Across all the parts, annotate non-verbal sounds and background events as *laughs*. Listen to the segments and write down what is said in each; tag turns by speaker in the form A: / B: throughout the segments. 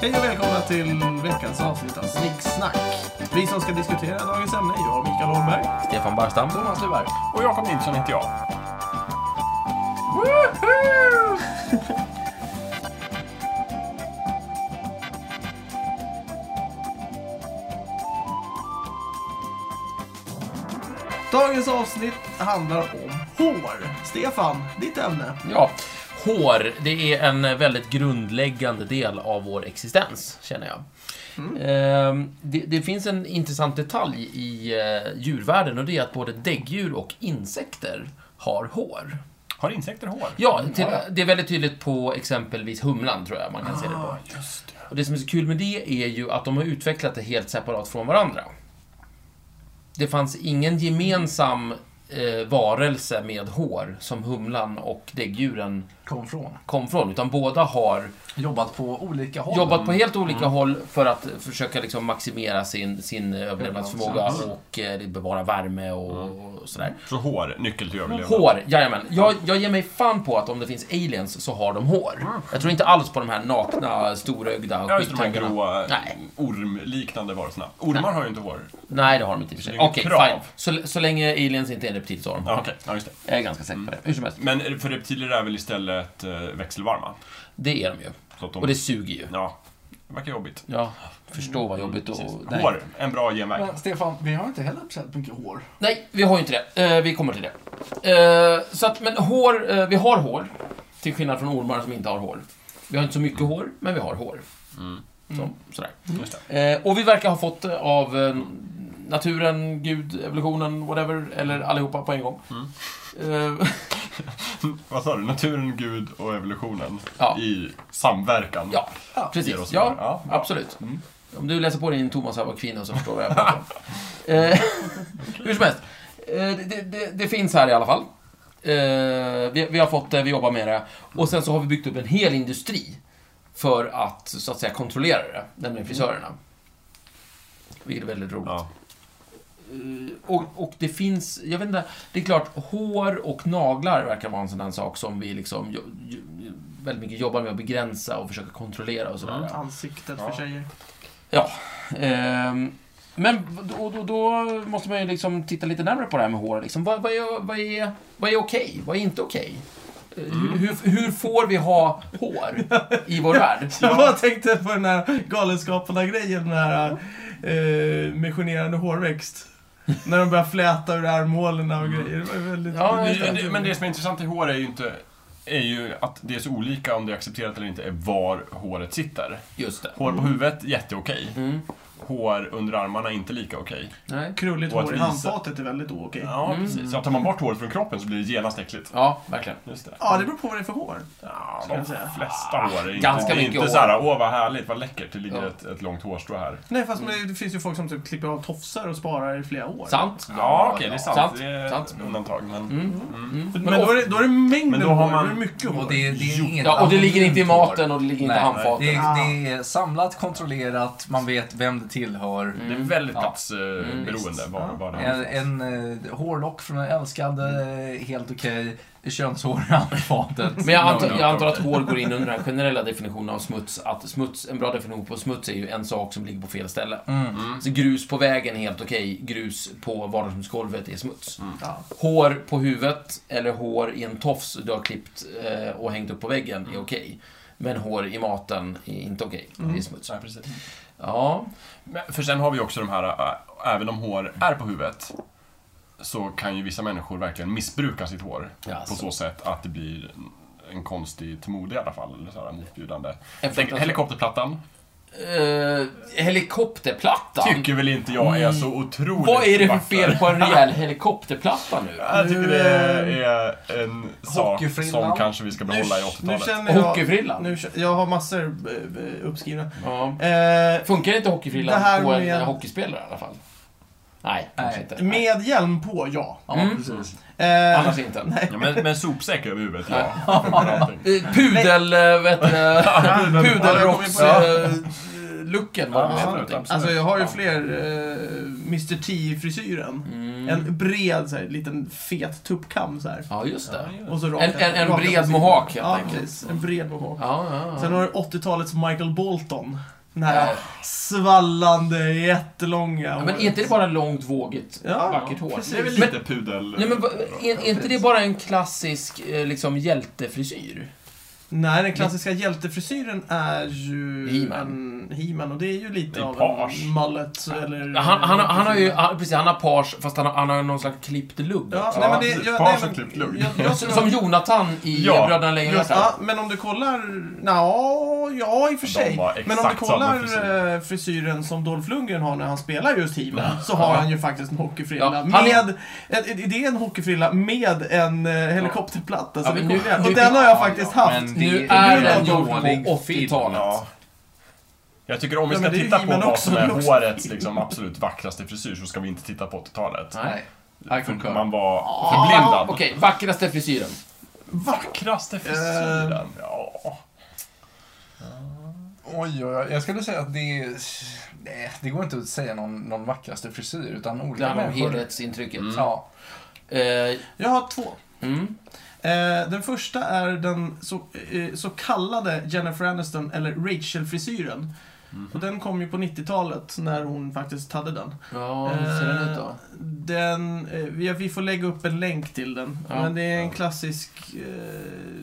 A: Hej och välkomna till veckans avsnitt av Snicksnack. Vi som ska diskutera dagens ämne är jag, Mikael Holmberg.
B: Stefan Barstam. Thomas Luberg.
C: Och Jakob Nilsson heter jag.
A: Dagens avsnitt handlar om hår. Stefan, ditt ämne.
B: Ja, hår, det är en väldigt grundläggande del av vår existens, känner jag.
C: Mm.
B: Ehm, Det, det finns en intressant detalj i eh, djurvärlden och det är att både däggdjur och insekter har hår.
C: Har insekter hår?
B: Ja, till,
C: ja.
B: det är väldigt tydligt på exempelvis humlan, tror jag man kan se det på.
C: Just det.
B: Och det som är så kul med det är ju att de har utvecklat det helt separat från varandra. Det fanns ingen gemensam eh, varelse med hår som humlan och däggdjuren
D: kom från.
B: kom från, utan båda har
D: Jobbat på olika håll.
B: jobbat på helt olika håll för att försöka liksom maximera sin, sin överlevnadsförmåga och eh, bevara värme och, och sådär.
C: Så hår, nyckel till överlevnad.
B: Hår, jajamän. Jag, jag ger mig fan på att om det finns aliens så har de hår. Jag tror inte alls på de här nakna, storögda
C: Ja, just det, de här
B: skittängarna.
C: gråa
B: Nej.
C: ormliknande varelserna. Ormar har ju inte hår.
B: Nej, det har de inte i och för sig.
C: Det är inget
B: Okej,
C: krav.
B: fine. Så, så länge aliens inte är en reptil så har de
C: Ja,
B: hår.
C: okej. Ja, just det.
B: Jag är ganska säker på det. Hur som helst,
C: Men eh, för reptiler är väl istället eh, växelvarma?
B: det är de ju.
C: Så att de,
B: Och det suger ju.
C: Ja, det verkar jobbigt.
B: Ja, förstå vad jobbigt och...
C: Precis.
B: nej.
C: Hår, en bra genväg.
D: Men Stefan, vi har inte heller speciellt mycket hår.
B: Nej, vi har ju inte det. Eh, vi kommer till det. Eh, så att, men hår, eh, vi har hår. Till skillnad från ormar som inte har hår. Vi har inte så mycket hår, men vi har hår.
C: Mm.
B: Så, sådär.
C: Just det.
B: Eh, och vi verkar ha fått det av eh, naturen, Gud, evolutionen, whatever, eller allihopa på en gång.
C: Mm.
B: Eh, *laughs*
C: Vad sa du? Naturen, Gud och evolutionen
B: Ja.
C: i samverkan.
B: ja,
D: Ja,
B: precis.
C: ger oss
B: Ja,
C: det. Ja, Mm. bra.
B: absolut. Om du läser på din Thomas här var kvinna så förstår jag vad jag
C: *laughs*
B: pratar om. Eh, Hur som helst. Eh, det- det, det, det finns här i alla fall. Eh, vi, vi har fått det, vi jobbar med det. Och sen så har vi byggt upp en hel industri för att, så att säga, kontrollera det. Nämligen frisörerna. Vilket är väldigt roligt.
C: Ja.
B: Eh, Och, och det finns, jag vet inte, det är klart, hår och naglar verkar vara en sån där sak som vi liksom jo, jo, väldigt mycket jobbar med att begränsa och försöka kontrollera och sådär.
A: Mm. Ansiktet
C: Ja.
A: för tjejer.
B: Ja. Ehm, men då, då, då måste man ju liksom titta lite närmare på det här med hår. Liksom. Vad, vad är, vad är, vad är okej? Vad är inte okej? Eh, Hur, hur, hur får vi ha hår i vår värld?
A: *laughs* Jag bara tänkte på den här Galenskaparna-grejen, den här eh, missionerande hårväxt. När de börjar fläta ur armhålorna och grejer. Det var ju väldigt...
B: Ja, just
C: Men det, men det som är intressant i hår är ju inte är ju att det är så olika om det är accepterat eller inte är var håret sitter.
B: Just det.
C: Hår på huvudet, jätteokej.
B: Mm.
C: Hår under armarna, inte lika okej.
B: Nej.
A: Krulligt
C: Och att
A: hår i
C: visa-
A: handfatet är väldigt ookej. Ja.
B: Mm.
C: Ja, precis. Så tar man bort håret från kroppen så blir det genast äckligt.
B: Ja, verkligen.
C: Just det.
A: det beror på vad det är för hår.
C: Ja,
A: ska
C: de
A: jag säga.
C: flesta hår är inte,
B: Ganska
C: det är
B: mycket
C: inte
B: hår.
C: så här, åh vad härligt, vad läckert, det ligger
B: Ja.
C: ett, ett långt hårstrå här.
A: Nej, fast men det finns ju folk som typ klipper av tofsar och sparar i flera år.
B: Sant.
C: Ja, okej, det är sant.
B: Sant.
C: Det är
B: sant.
C: undantag. Men...
B: Mm.
A: Men,
B: Men
A: då, är det, då är det mängden
C: Men då har
A: hår,
C: man-
A: då är det mycket hår.
E: Och det, det är inget
B: Ja, och det ligger inte i
E: anonymt hår.
B: maten och det ligger inte i
E: Nej,
B: handfatet.
E: Det är, det är samlat, kontrollerat, man vet vem det tillhör.
C: Det är väldigt
E: Ja.
B: Mm,
C: platsberoende. var,
A: Ja.
C: var det
E: En, en eh, hårlock från en älskad, eh, helt okej. Könshår i handfatet.
B: Men jag antar,
C: No, no,
B: jag antar att hår går in under den
C: *laughs*
B: här generella definitionen av smuts. Att smuts, en bra definition på smuts är ju en sak som ligger på fel ställe.
E: Mm.
B: Så grus på vägen är helt okej, grus på vardagsrumsgolvet är smuts.
A: Ja.
B: Hår på huvudet eller hår i en tofs du har klippt eh, och hängt upp på väggen
C: Mm.
B: är okej. Men hår i maten är inte okej. Det är smuts.
C: Ja, precis.
B: Ja,
C: Men, för sen har vi också de här, äh, även om hår är på huvudet, så kan ju vissa människor verkligen missbruka sitt hår.
B: Jaså.
C: På så sätt att det blir en konstig till mode i alla fall, eller så här motbjudande.
B: en
C: Tänk,
B: fruktansvärd-
C: Helikopterplattan
B: eh, helikopterplatta.
C: tycker väl inte jag är så otroligt
B: Vad är det för
C: vacker.
B: fel på en rejäl helikopterplatta nu?
C: Jag tycker det är en sak
E: Hockeyfrillan.
C: som kanske vi ska behålla i
A: nu
C: 80-talet.
A: känner jag...
B: Hockeyfrillan?
A: Nu, känner- jag har massor eh, eh, uppskrivna.
B: Ja.
A: Eh,
B: Funkar inte hockeyfrillan
A: Det här
B: på en
A: med-
B: eh, hockeyspelare i alla fall? Nej, kanske inte.
A: med hjälm på, ja.
E: Ja,
B: Mm.
E: precis.
A: Eh,
B: Annars inte.
C: Ja, men, men sopsäck över huvudet, ja. Framför allting.
A: *laughs*
B: Eh, Pudel... eh, Vet, du, eh,
A: Ja, men-
B: pudelrocks...
A: Ja,
B: eh,
A: eh,
B: looken vad
C: Ja,
B: det blev för
C: absolut,
B: någonting.
A: Alltså jag har ju
C: Ja.
A: fler eh, Mr T-frisyren.
B: Mm.
A: En bred, så här, liten fet tuppkam så här.
B: Ja, just det.
A: Och så raka-
B: En- en- en
A: raka
B: bred
A: frisyrer.
B: mohawk, helt
A: Ja,
B: enkelt.
A: precis. En bred mohawk.
B: Ja, ja,
A: Sen
B: ja.
A: har du 80-talets Michael Bolton. Den här svallande, jättelånga.
B: Ja, men är inte det bara långt, vågigt,
A: Ja,
B: vackert hår?
A: precis.
B: Det är väl
C: Lite pudel...
B: Nej men va- är, är inte det bara en klassisk eh, liksom, hjältefrisyr?
A: Nej, den klassiska hjältefrisyren är ju
B: He-Man.
A: en He-Man och det är ju lite
C: Det är
A: av
C: page.
A: en mullet eller...
B: Han, han, har- han har ju, han, precis, han har page, fast han har, han har någon slags klippt lugg
A: Ja,
B: också.
A: nej, men
C: precis.
A: det, jag,
C: Page
A: nej,
C: och
A: men,
C: klippt lugg.
A: jag, jag,
B: Som-
A: tror-
B: Som Jonathan i
C: Ja,
B: eh, Bröderna Lejonhjärta.
A: Just, ja, men om du kollar... Nja, ja i och för
C: De
A: sig.
C: har exakt
A: Men om du kollar
C: samma frisyr.
A: eh, frisyren som Dolph Lundgren har när han spelar just He-Man så har
B: Ja.
A: han ju faktiskt en hockeyfrilla.
B: Ja, han-
A: Med, eh, det är en hockeyfrilla med en eh, helikopterplatta. Så
B: Ja,
A: det
B: men
A: kommer
B: nu-
A: igen.
B: nu-
A: och den har jag faktiskt
E: ja,
A: haft.
E: men-
B: Nu
E: Det
B: är
A: är
B: den
A: en
B: gjord på
E: dålig
B: 80-talet.
C: Ja. Jag tycker om vi
A: Ja,
C: ska
A: men det är ju
C: titta på
A: He-Man
C: vad
A: också,
C: som är
A: men också-
C: hårets liksom, absolut vackraste frisyr så ska vi inte titta på 80-talet.
E: Nej. I concur.
C: Man var förblindad.
B: Okej, vackraste frisyren.
C: Vackraste frisyren. Ja.
E: Oj, oj, oj, jag skulle säga att det är... Nej, det går inte att säga någon, någon vackraste frisyr, utan
B: Det
E: olika
B: handlar om
E: människor. Mm.
B: helhetsintrycket.
C: Mm.
E: Ja.
B: Eh,
A: Jag har två.
B: mm.
A: Eh, den första är den så, eh, så kallade Jennifer Aniston, eller Rachel-frisyren. Och den kom ju på 90-talet när hon faktiskt hade den.
B: Ja, hur ser den ut då?
A: Eh, Den, eh, vi, vi får lägga upp en länk till den.
B: Ja.
A: Men det är en
C: Ja.
A: klassisk... Eh,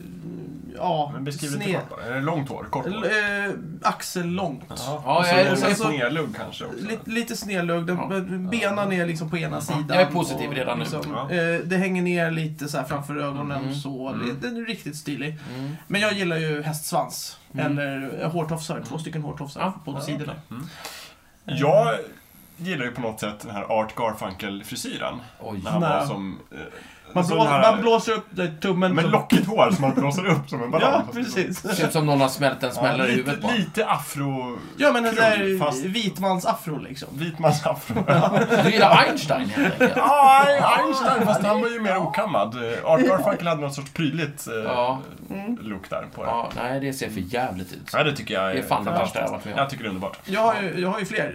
A: ja,
C: Men beskriv lite
A: sned-
C: kort bara. Är det långt hår? Kort
A: L-
C: hår?
A: eh, axellångt.
B: Ja,
C: och så
B: jag- alltså
C: är det
A: sen
C: en
A: så-
C: snedlugg kanske också.
A: Lite, lite snedlugg, den-
B: Ja.
A: benen är liksom på ena sidan.
B: Jag är positiv redan nu.
C: Ja.
A: eh, det hänger ner lite så här framför ögonen
B: Mhm.
A: så.
C: Mm.
A: Det, den är riktigt stilig.
C: Eh.
B: Mm.
A: Men jag gillar ju hästsvans.
B: Mm.
A: Eller eh, hårtofsar, två stycken hårtofsar
B: Ja,
A: på
B: ja,
A: sidorna.
C: Mm. Jag gillar ju på något sätt den här Art Garfunkel-frisyren.
B: Oj.
C: När han
A: Nej.
C: var som... eh,
A: Man,
C: sån
A: blå,
C: här-
A: man blåser upp eh, tummen.
C: Med
A: som-
C: lockigt hår som man blåser upp som en ballong.
A: *laughs* Ja,
C: Fast det-
A: precis.
B: Ser ut som någon har smält en
C: Ja,
B: smällare i huvudet på
C: lite,
B: honom.
C: lite afro...
A: Ja, men en
C: Krull,
A: där
C: fast-
A: vitmansafro liksom.
C: Vit
A: *laughs*
C: mans afro.
B: Du gillar Einstein helt enkelt.
C: Ja, Einstein, fast han var ju mer okammad. Eh, Art Garfunkel hade någon sorts prydligt eh,
B: Ja.
A: Mm.
C: look där på det. Ja.
B: Ja, nej, det ser för jävligt ut.
C: det tycker jag är,
B: Det är fan det värsta jag har varit
C: fantastiskt.
B: med om.
C: Jag tycker det är underbart.
A: Jag har ju, jag har ju fler.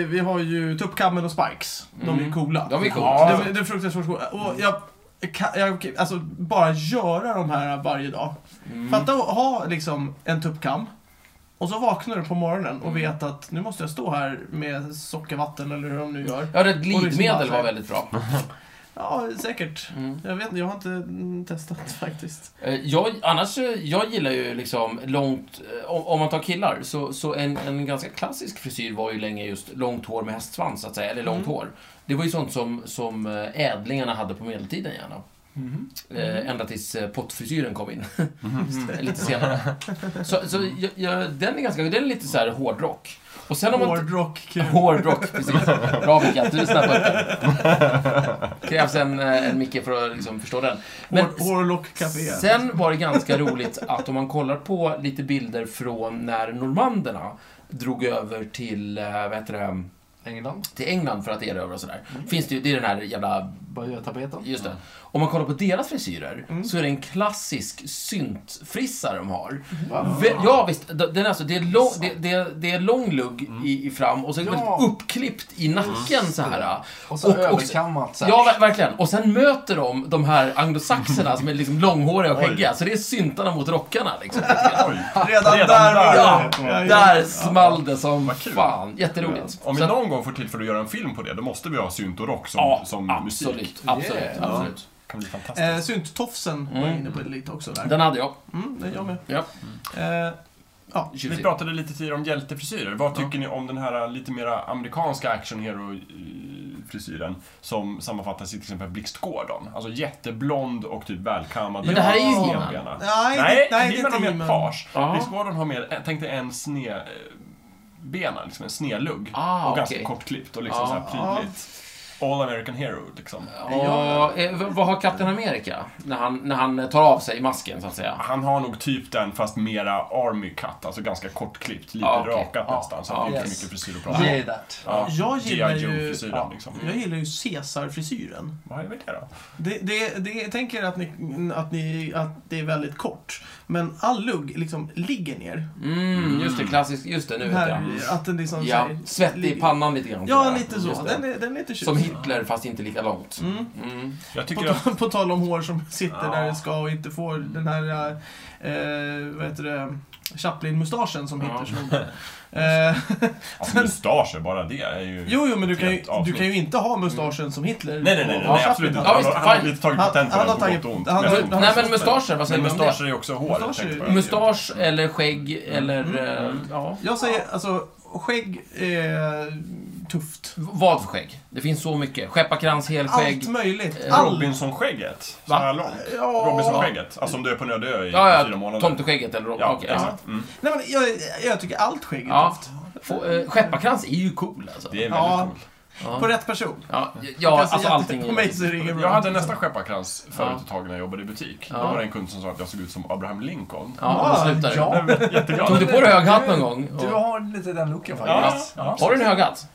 A: Eh, vi har ju Tuppkammen och Spikes. De är ju coola.
B: De är coola.
C: Ja.
A: Det, det är fruktansvärt coola. Och jag, kan, jag, alltså, bara göra de här varje dag. Fatta att ha liksom en tuppkam. Och så vaknar du på morgonen och vet att nu måste jag stå här med sockervatten eller hur de nu gör.
B: Ja, det
A: Och liksom bara
B: glidmedel
A: så här-
B: var väldigt bra.
A: Ja, säkert.
B: Mm.
A: Jag vet inte, jag har inte mm, testat faktiskt.
B: Eh, Jag, annars, eh, jag gillar ju liksom långt, eh, om, om man tar killar, så, så en, en ganska klassisk frisyr var ju länge just långt hår med hästsvans, så att säga, eller långt hår. Det var ju sånt som, som eh, ädlingarna hade på medeltiden gärna. Eh, ända tills eh, pottfrisyren kom in. *laughs* lite senare. Så, så jag, jag, den är ganska, den är lite så här hårdrock. Och sen om man,
A: Hårdrock, kul.
B: Hårdrock, precis. Bra Micke, att du lyssnar på det. Krävs en, eh, en Micke för att liksom förstå den. Men
A: Hår- Hårlock Café.
B: sen var det ganska roligt att om man kollar på lite bilder från när normanderna drog över till, eh, vad heter det,
E: England.
B: till England för att erövra och sådär. Finns det ju, det är den här jävla,
E: Börjetapeten.
B: just det. Om man kollar på deras frisyrer så är det en klassisk syntfrissa de har. Vä- Ja visst, d- den är alltså, det, är lång, det, det, det är lång lugg i, i fram och så är det
E: Ja.
B: väldigt uppklippt i nacken så här.
E: Och så
B: Och- och-
E: överkammat så här.
B: Ja, ver- verkligen. Och sen möter de de här anglosaxerna som är liksom långhåriga och
C: Oj.
B: skäggiga. Så det är syntarna mot rockarna
C: *laughs*
B: liksom.
C: Oj.
A: Redan,
C: Redan
A: där var
C: där.
A: det.
C: Ja,
A: Ja, ja.
B: Där small det som
C: Vad kul.
B: fan. Jätteroligt.
C: Om vi
B: Så att-
C: någon gång får tillfälle att göra en film på det, då måste vi ha synt och rock som,
B: ja,
C: som
B: absolut,
C: musik.
B: Absolut,
E: Yeah.
B: absolut.
C: Det kan bli fantastiskt.
A: Eh, Synttofsen var jag inne på lite också där.
B: Mm. Den hade jag.
A: Mm, den jag med.
B: Ja.
A: Eh, ja.
C: Vi
B: Tjusig.
C: pratade lite tidigare om hjältefrisyrer. Vad tycker ni om den här äh, lite mera amerikanska actionhero-frisyren som sammanfattas i till exempel Blixt Gordon? Alltså jätteblond och typ välkammad.
B: Men det här är ju
C: Ja.
B: He-Man.
C: Snedbena.
A: Nej,
C: Nej,
A: det, nej, det
C: He-Man
A: är
C: har
A: inte
C: mer
A: He-Man.
C: page.
B: Ja.
C: Blixt Gordon har mer, tänk dig en snedbena, liksom en snedlugg.
B: Ah,
C: och ganska
B: okej.
C: kortklippt och liksom
B: Ja.
C: så här prydligt. All American Hero, liksom.
B: Och, eh, v- vad har Kapten Amerika? När han, när han tar av sig masken, så att säga.
C: Han har nog typ den, fast mera army cut, alltså ganska kortklippt, lite
B: Ja, okej.
C: rakat nästan. Så
B: ja,
C: det är inte
D: yes.
C: mycket frisyr att prata om.
D: Ge that.
C: Ja,
A: Jag gillar
C: G.I.
A: ju-
C: Joe-frisyren,
A: ja.
C: liksom.
A: Jag gillar ju Caesar-frisyren.
C: Vad är det då?
A: Det, det, det, jag tänker att, ni, att, ni, att det är väldigt kort. Men all lugg liksom ligger ner.
B: Mm, just det. Klassiskt. Just det, nu vet jag.
A: Här, att den liksom
B: Ja,
A: så här-
B: svettig i
A: ligger-
B: pannan lite grann.
A: Ja,
B: sådär.
A: lite så.
B: Just det.
A: Den är, den är lite
B: Som
A: tjusig.
B: Hitler, fast inte lika långt.
A: Mm.
B: Mm.
C: Jag
A: På,
C: tycker att...
A: ta- på tal om hår som sitter
C: Ja.
A: där det ska och inte får den här, eh, vad heter det, Chaplin-mustaschen som
B: Ja.
A: Hitler
B: *laughs*
A: snodde. Eh, *laughs*
C: Alltså mustascher, bara det är ju...
A: jo, jo, men du kan, ju,
C: Helt avsnitt.
A: du kan ju inte ha mustaschen som Hitler.
C: Nej, nej, nej, nej,
A: och-
C: nej
A: och
C: absolut inte.
A: Chaplin.
B: Ja, visst,
C: Han, har- han har
B: fine.
C: lite tagit patent på
A: Han-
C: den,
A: han
C: på
A: har
C: gott och ont.
A: tagit- han
C: mest
A: har-
C: ont.
A: han
B: Nej, men mustascher. Vad säger
C: Men
B: du om det?
C: mustascher är ju också hår.
A: Mustasch
C: tänkte
A: är-
C: jag.
B: Mustasch eller skägg eller... eh, Ja.
A: Jag säger, alltså, skägg är tufft.
B: V- Vad för skägg? Det finns så mycket. Skepparkrans, helskägg.
A: Allt möjligt.
B: Eh,
A: Allt.
C: Robinsonskägget, så
B: Va?
C: här långt.
A: Ja.
C: Robinsonskägget, alltså om du är på en öde ö i
B: Ja,
C: fyra
B: ja.
C: månader.
B: Tomtegegget eller...
C: Ja,
B: okej, ja.
C: exakt. Mm.
A: Nej, men jag, jag tycker allt skägg är
B: Ja.
A: tufft.
B: Få, eh, skepparkrans är ju cool alltså.
C: Det är väldigt
A: Ja.
C: coolt.
A: På
B: Ja,
A: rätt person.
B: ja, ja
A: Jag kan
B: alltså
A: säga att
B: allting
A: På mig så
B: är...
A: är det inget
C: Jag
A: bra.
C: hade nästa skepparkrans förut ett tag när jag jobbade i butik.
B: Ja.
C: Då var det en kund som sa att jag såg ut som Abraham Lincoln.
B: Ja, då slutar det.
C: Jag
D: Ja,
C: blev
B: Tog du
C: *laughs* jätteglad.
B: på dig hög hatt någon gång?
D: du
B: Ja.
D: har lite den looken
C: Ja,
D: faktiskt.
C: ja.
B: Har du en hög hatt?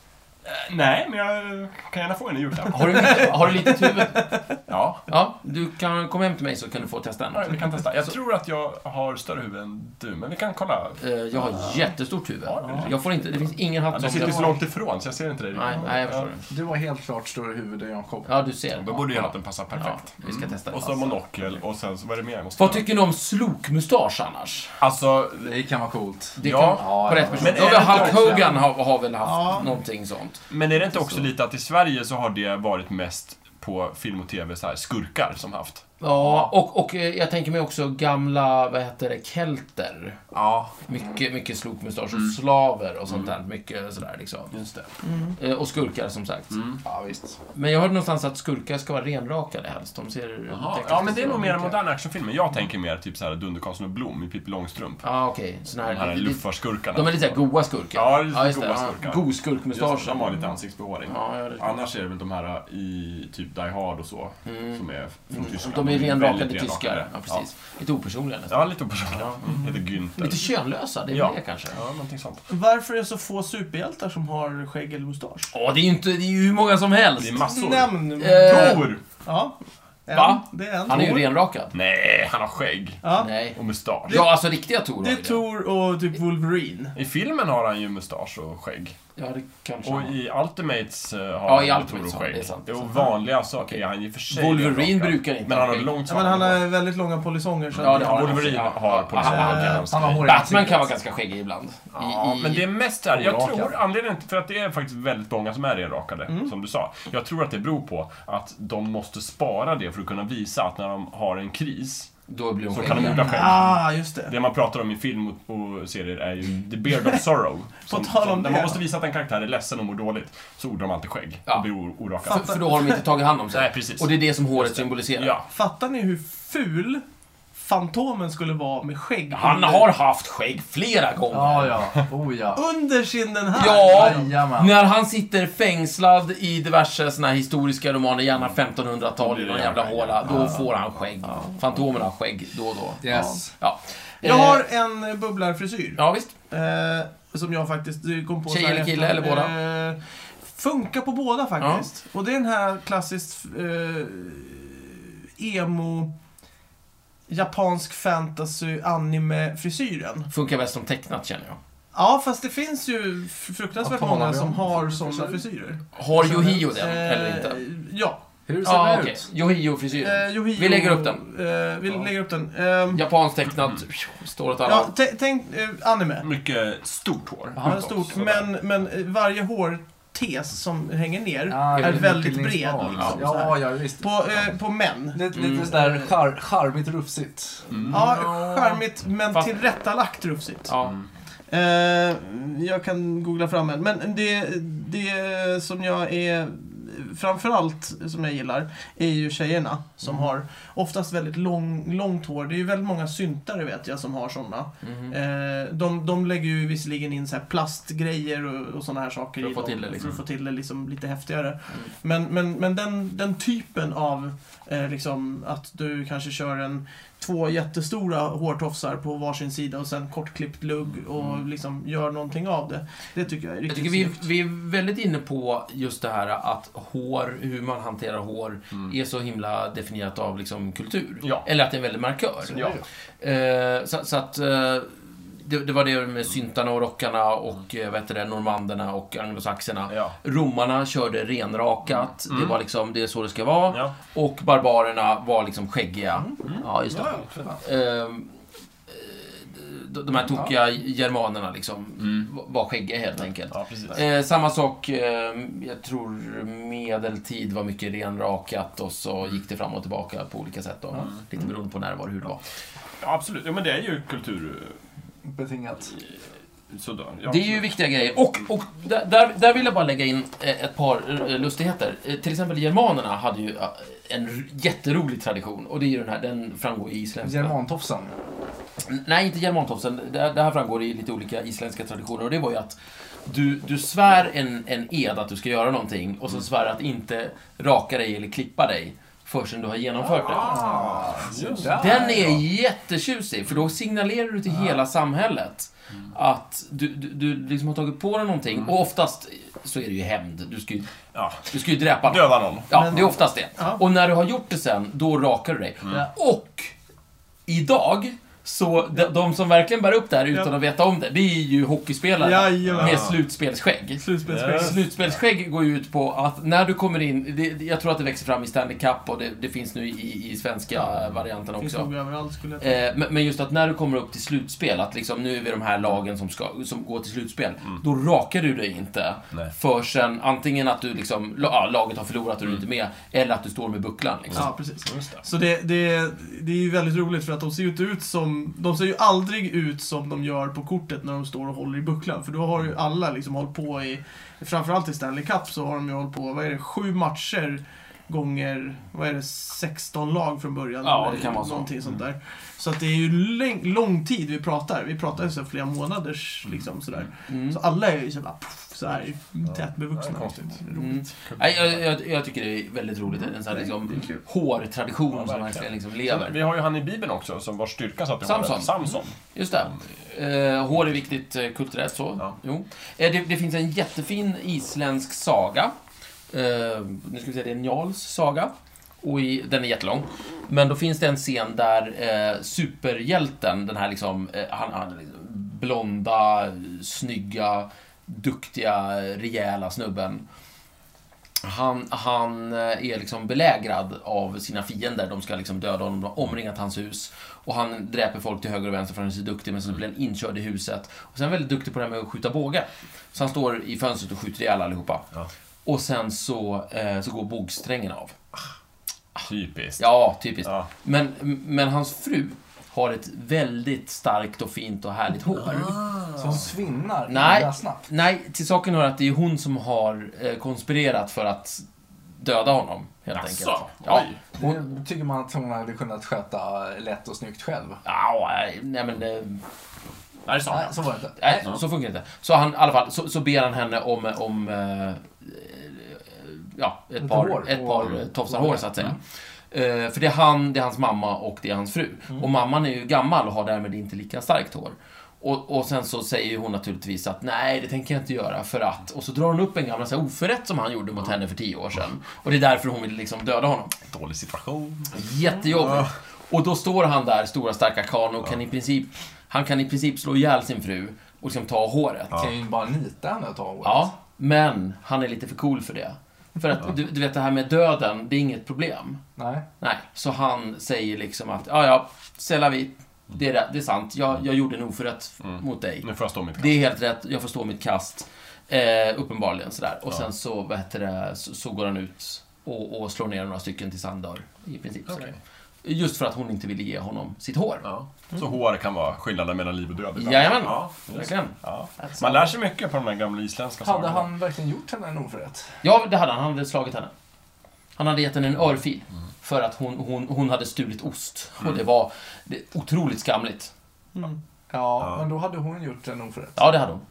C: Eh, Nej, men jag kan gärna få en i julklapp.
B: Har du, har du litet huvud?
C: *laughs* Ja,
B: Ja, du kan komma hem till mig så kan du få testa en.
C: vi kan testa. Jag tror att jag har större huvud än du, men vi kan kolla.
B: Eh, Jag har jättestort huvud.
C: Ja, det är
B: Jag får inte, det finns ingen
C: Ja,
B: hatt
C: Du
B: som...
C: sitter så
B: jag-
C: långt ifrån, så jag ser inte dig.
B: Nej, nej, jag förstår det.
D: Du har helt klart större huvud än Jakob.
B: Ja, du ser.
C: Då borde ju hatten passa
B: Ja,
C: perfekt.
B: vi ska testa det.
C: Och så monokel och sen, så- vad är det mer jag måste
B: Vad
C: göra?
B: tycker ni om slokmustasch annars?
C: Alltså,
E: Det kan vara coolt.
B: Det
C: Ja,
B: kan,
E: ja,
B: på rätt
E: ja.
B: person.
C: Men
B: Då har
C: är
B: vi Hulk
C: det inte också-
B: Hogan har, har väl haft
A: Ja.
B: någonting sånt.
C: Men är det inte också lite att i Sverige så har det varit mest på film och TV så här skurkar som haft?
B: Ja, och, och eh, jag tänker mig också gamla, vad heter det, kelter.
C: Ja,
B: Mycket, mycket slokmustasch
C: Mm.
B: och slaver och sånt där. Mycket sådär liksom.
C: just det.
B: Eh, Och skurkar som sagt.
C: Mm.
D: Ja, visst.
B: Men jag hörde någonstans att skurkar ska vara renrakade helst. De ser...
C: Ja, men det är nog mer moderna actionfilmer. Jag tänker mer typ så här Dunderkarlsson och Blom i Pippi Långstrump.
B: Ja, ah, okej. Såna
C: De här
B: här...
C: luffarskurkarna.
B: De är lite såhär goa skurkar.
C: Ja, lite goa
B: Ja,
C: skurkar.
B: God
C: Just det,
B: skurkmustasch.
C: De har lite ansiktsbehåring.
B: Ja, ja, det är-
C: Annars är det väl de här i typ Die Hard och så, som är från
B: Mm.
C: Tyskland.
B: De är
C: väldigt
B: renrakade
C: renrakade.
B: tyskar. Ja, precis. Lite opersonliga nästan.
C: Ja, lite opersonliga. Lite
B: Lite
C: Mm. Günther.
B: könlösa, det är
C: Ja.
B: väl det kanske.
C: Ja, någonting sånt.
A: Varför är det så få superhjältar som har skägg eller mustasch?
B: Ja, det är ju inte, det är ju hur många som helst.
C: Det är massor.
A: Nämn...
B: Eh,
C: Tor!
A: Ja. En.
B: Va?
A: Det är en.
B: Han är ju
A: Tor.
B: renrakad.
C: Nej, han har skägg.
A: Ja.
B: Nej.
C: Och mustasch.
B: Ja, alltså riktiga Tor har
A: Det
B: ju
A: är Tor och typ Wolverine.
C: I filmen har han ju mustasch och skägg.
B: Ja, det kanske
C: Och
B: han har.
C: i Ultimates eh, har
B: Ja,
C: han
B: i
C: ju
B: Ultimates
C: Toro
B: har han,
C: skägg.
B: det är sant, det är
C: Och
B: sant.
C: vanliga saker är han ju för sig.
B: Wolverine
C: renrakad.
B: brukar inte
C: Men
B: ha
C: han har
B: skägg.
C: långt
A: Ja, men han har väldigt långa polisonger. Så
B: Ja,
A: att-
B: det har han.
C: Wolverine
B: Ja,
C: har
B: ja,
C: på sig
B: ja,
C: han
B: ja,
C: kan
B: ja.
C: ha
E: Han har
C: skägg.
E: hår i
B: Batman
E: ansiktet.
B: kan vara ganska skäggig ibland. I,
C: Ja,
B: i,
C: men det är mest där. Jag
E: Orakad.
C: tror anledningen till att det är faktiskt väldigt många som är renrakade,
A: Mm.
C: som du sa. Jag tror att det beror på att de måste spara det för att kunna visa att när de har en kris
B: Då blir de
C: så kan de
B: skäggiga.
C: odla skägg.
A: Ah, just det.
C: Det man pratar om i film och, och serier är ju the beard
A: *laughs*
C: of sorrow. Som,
A: tal om
C: som, när
A: det.
C: man måste visa att en karaktär är ledsen och mår dåligt, så odlar de alltid skägg
B: Ja.
C: och blir or- orakade.
B: För, för då har de inte tagit hand om sig.
C: Nej, precis.
B: Och det är det som håret symboliserar.
C: Ja.
A: Fattar ni hur ful Fantomen skulle vara med skägg?
B: Han
A: under-
B: har haft skägg flera gånger.
E: Ja, ja. Oh ja.
A: Under kinden här!
B: Ja,
E: Jajamän.
B: när han sitter fängslad i diverse såna här historiska romaner, gärna 1500-tal i någon jävla håla, då får han skägg. Fantomen har skägg då och då.
E: Yes.
B: Ja.
A: Jag
B: Eh,
A: har en bubblarfrisyr.
B: Ja, visst.
A: Eh, som jag faktiskt kom på
B: Tjej
A: så här
B: eller kille
A: efter.
B: eller
A: Eh, funkar på båda faktiskt. Och det är den här klassiskt eh, emo... Japansk fantasy anime frisyren.
B: Funkar bäst som tecknat, känner jag.
A: Ja, fast det finns ju f- fruktansvärt
E: Vad talar
A: många
E: vi om?
A: som har sådana frisyrer.
B: Har Yohio den, eller inte?
A: Eh, Ja.
E: Hur ser
B: Ja,
E: det
B: okej.
E: ut?
B: Yohio-frisyren.
A: Eh, Yohio-
B: Vi lägger upp den.
A: Eh, vi
E: Ja.
A: lägger upp den. Ehm,
B: Japanskt tecknat, står åt alla
A: ja,
B: håll.
A: tä- tänk eh, anime.
B: Mm.
C: Mycket stort hår.
A: Han har stort, men, men eh, varje hårtes som hänger ner
E: Ja,
A: är
E: lite
A: väldigt bred.
E: utbildningsbar,
A: Liksom, så här.
E: Ja, ja, visst.
A: På, eh, på män.
B: Mm.
E: Lite, lite sådär char, charmigt rufsigt.
C: Mm.
A: Ja, charmigt men
B: Fast-
A: tillrättalagt rufsigt.
B: Ja.
A: Eh, jag kan googla fram en. Men det, det som jag är framförallt som jag gillar är ju tjejerna som
B: Mm.
A: har oftast väldigt lång, långt hår. Det är ju väldigt många syntare vet jag som har sådana.
B: Mhm.
A: Eh, de, de lägger ju visserligen in så här plastgrejer och, och sådana här saker
B: För att
A: i
B: få
A: dem,
B: till det,
A: för
B: liksom.
A: att få till det liksom lite häftigare. Men, men, men den, den typen av eh, liksom, att du kanske kör en två jättestora hårtofsar på varsin sida och sen kortklippt lugg och liksom gör någonting av det. Det tycker jag är
B: Mm. Jag
A: riktigt
B: tycker vi,
A: snyggt.
B: vi är väldigt inne på just det här att hår, hur man hanterar hår,
E: Mm.
B: är så himla definierat av liksom kultur.
C: Ja.
B: Eller att det är en väldig markör.
C: Ja.
B: Eh, så, så att eh, det, det var det med syntarna och rockarna och eh, vad heter det, normanderna och anglosaxerna.
C: Ja.
B: Romarna körde renrakat,
E: Mm.
B: det var liksom, det är så det ska vara.
C: Ja.
B: Och barbarerna var liksom skäggiga. Ja, just det.
E: Mm. Ja, för fan.
B: Ehm, eh, de de här tokiga germanerna liksom
E: Mm.
B: var skäggiga helt enkelt.
C: Ja, precis.
B: Eh, samma sak, eh, jag tror medeltid var mycket renrakat och så gick det fram och tillbaka på olika sätt. Då. Lite beroende på när det var och hur det var.
C: Ja, absolut. Ja, men det är ju kultur...
E: Betingat.
C: Sådär. Ja,
B: Det är ju viktiga grejer. Och, och där- där, där vill jag bara lägga in eh, ett par eh, lustigheter. Eh, Till exempel germanerna hade ju eh, en r- jätterolig tradition och det är ju den här, den framgår i isländska.
E: Germantofsan.
B: N- Nej, inte germantofsen. Det, det här framgår i lite olika isländska traditioner och det var ju att du, du svär en, en ed att du ska göra någonting och så svär du att inte raka dig eller klippa dig förrän du har genomfört det.
C: Just det.
E: Där,
B: Den
E: ja.
B: är jättetjusig, för då signalerar du till hela samhället att du, du, du liksom har tagit på dig någonting. Och oftast så är det ju hämnd. Du ska ju,
C: Ja.
B: du ska ju dräpa någon.
C: Döda någon.
B: Ja,
A: Men-
B: det är oftast det.
A: Ja. Mm.
B: Och när du har gjort det sen, då rakar du dig. Och idag, så de, de som verkligen bär upp det här utan
A: Ja.
B: att veta om det, det är ju hockeyspelare
A: Jajamän.
B: med slutspelsskägg.
A: Slutspelsskägg.
C: Yes.
B: Slutspelsskägg går ju ut på att när du kommer in, det, jag tror att det växer fram i Stanley Cup och det, det finns nu i, i svenska varianten
A: Finns
B: också.
A: nog överallt skulle jag tro.
B: Eh, men, men just att när du kommer upp till slutspel, att liksom nu är vi de här lagen som, ska, som går till slutspel, då rakar du dig inte.
C: Nej.
B: Förrän antingen att du liksom, la- ja, laget har förlorat och du är inte med, eller att du står med bucklan. Liksom.
A: Ja, precis. Så det, det, det är ju väldigt roligt för att de ser ju inte ut som... De ser ju aldrig ut som de gör på kortet när de står och håller i bucklan. För då har ju alla liksom hållit på i... Framförallt i Stanley Cup så har de ju hållit på, vad är det, sju matcher gånger, vad är det, 16 lag från början?
B: Ja,
A: eller
B: det kan vara så. Mm.
A: Någonting sånt där. Så att det är ju läng- lång tid vi pratar. Vi pratar ju så här flera månaders liksom sådär.
B: Mm.
A: Så alla är ju så här, bara, puff, så här liksom. tätbevuxna.
C: Ja, konstigt.
B: Mm. Nej, jag, jag, jag tycker det är väldigt roligt. En sån här liksom, hårtradition som verkligen liksom lever.
C: Vi har ju han i Bibeln också, som vars styrka satt i
B: Samson. Mm.
C: håret. Samson.
B: Just det. Eh, hår är viktigt eh, kulturellt så.
C: Ja.
B: Jo. Eh, det, det finns en jättefin isländsk saga. Eh, nu ska vi säga det är Njals saga. Och i, den är jättelång. Men då finns det en scen där eh, superhjälten, den här liksom, eh, han, han liksom blonda, snygga, duktiga, rejäla snubben. Han, han eh, är liksom belägrad av sina fiender. De ska liksom döda honom. De har omringat hans hus. Och han dräper folk till höger och vänster för han är så duktig.
C: Mm.
B: Men så blir han inkörd i huset. Och sen är han väldigt duktig på det här med att skjuta båge. Så han står i fönstret och skjuter ihjäl allihopa.
C: Ja.
B: Och sen så, eh, så går bågsträngen av.
C: Typiskt.
B: Ah. Ja, typiskt.
C: Ja.
B: Men, men hans fru har ett väldigt starkt och fint och härligt hår.
C: Ah.
E: Som svinnar
B: Nej.
E: illa snabbt.
B: Nej, till saken hör att det är hon som har eh, konspirerat för att döda honom, helt
C: Jaså?
B: enkelt. Ja.
C: Alltså. Oj.
E: Det tycker man att hon hade kunnat sköta lätt och snyggt själv.
B: Ja, nej, nej men... eh,
C: Där sa
E: Nej,
C: han.
E: så var det inte.
B: Nej, så funkar det inte. Så han, i alla fall, så, så ber han henne om, om eh, eh, ja, ett
E: Lite
B: par,
E: hår.
B: ett par eh, tofsar hår, så att säga. Eh, för det är han, det är hans mamma och det är hans fru. Och mamman är ju gammal och har därmed inte lika starkt hår. Och, och sen så säger ju hon naturligtvis att nej, det tänker jag inte göra för att... Och så drar hon upp en gammal så här, oförrätt som han gjorde mot henne för tio år sedan. Och det är därför hon vill liksom döda honom.
C: Dålig situation.
B: Jättejobbigt. Och då står han där, stora starka karln, och kan i princip, han kan i princip slå ihjäl sin fru och liksom ta håret. Ja.
E: Kan ju bara nita henne och ta håret.
B: men han är lite för cool för det. För att du, du vet det här med döden, det är inget problem.
E: Nej.
B: Nej, så han säger liksom att ja, ja, c'est la vie. Det är, det, det är sant. Jag, jag gjorde en oförrätt mot dig.
C: Nu får jag stå mitt kast.
B: Det är helt rätt, jag får stå mitt kast. Eh, uppenbarligen sådär. Och sen så, vad heter det, så, så går han ut och, och slår ner några stycken till sanddörr. I princip. sådär. Just för att hon inte ville ge honom sitt hår.
C: Ja.
B: Mm.
C: Så hår kan vara skillnaden mellan liv och död. ibland.
B: Jajamän.
C: Ja, just.
B: Verkligen.
C: ja. Man lär sig mycket på de här gamla isländska
E: Hade
C: sagorna.
E: han verkligen gjort henne en oförrätt?
B: Ja, det hade han. Han hade slagit henne. Han hade gett henne en örfil. För att hon, hon, hon hade stulit ost. Och det var det, otroligt skamligt.
A: Mm.
E: Ja,
C: Ja.
E: men då hade hon gjort en oförrätt.
B: Ja, det hade hon.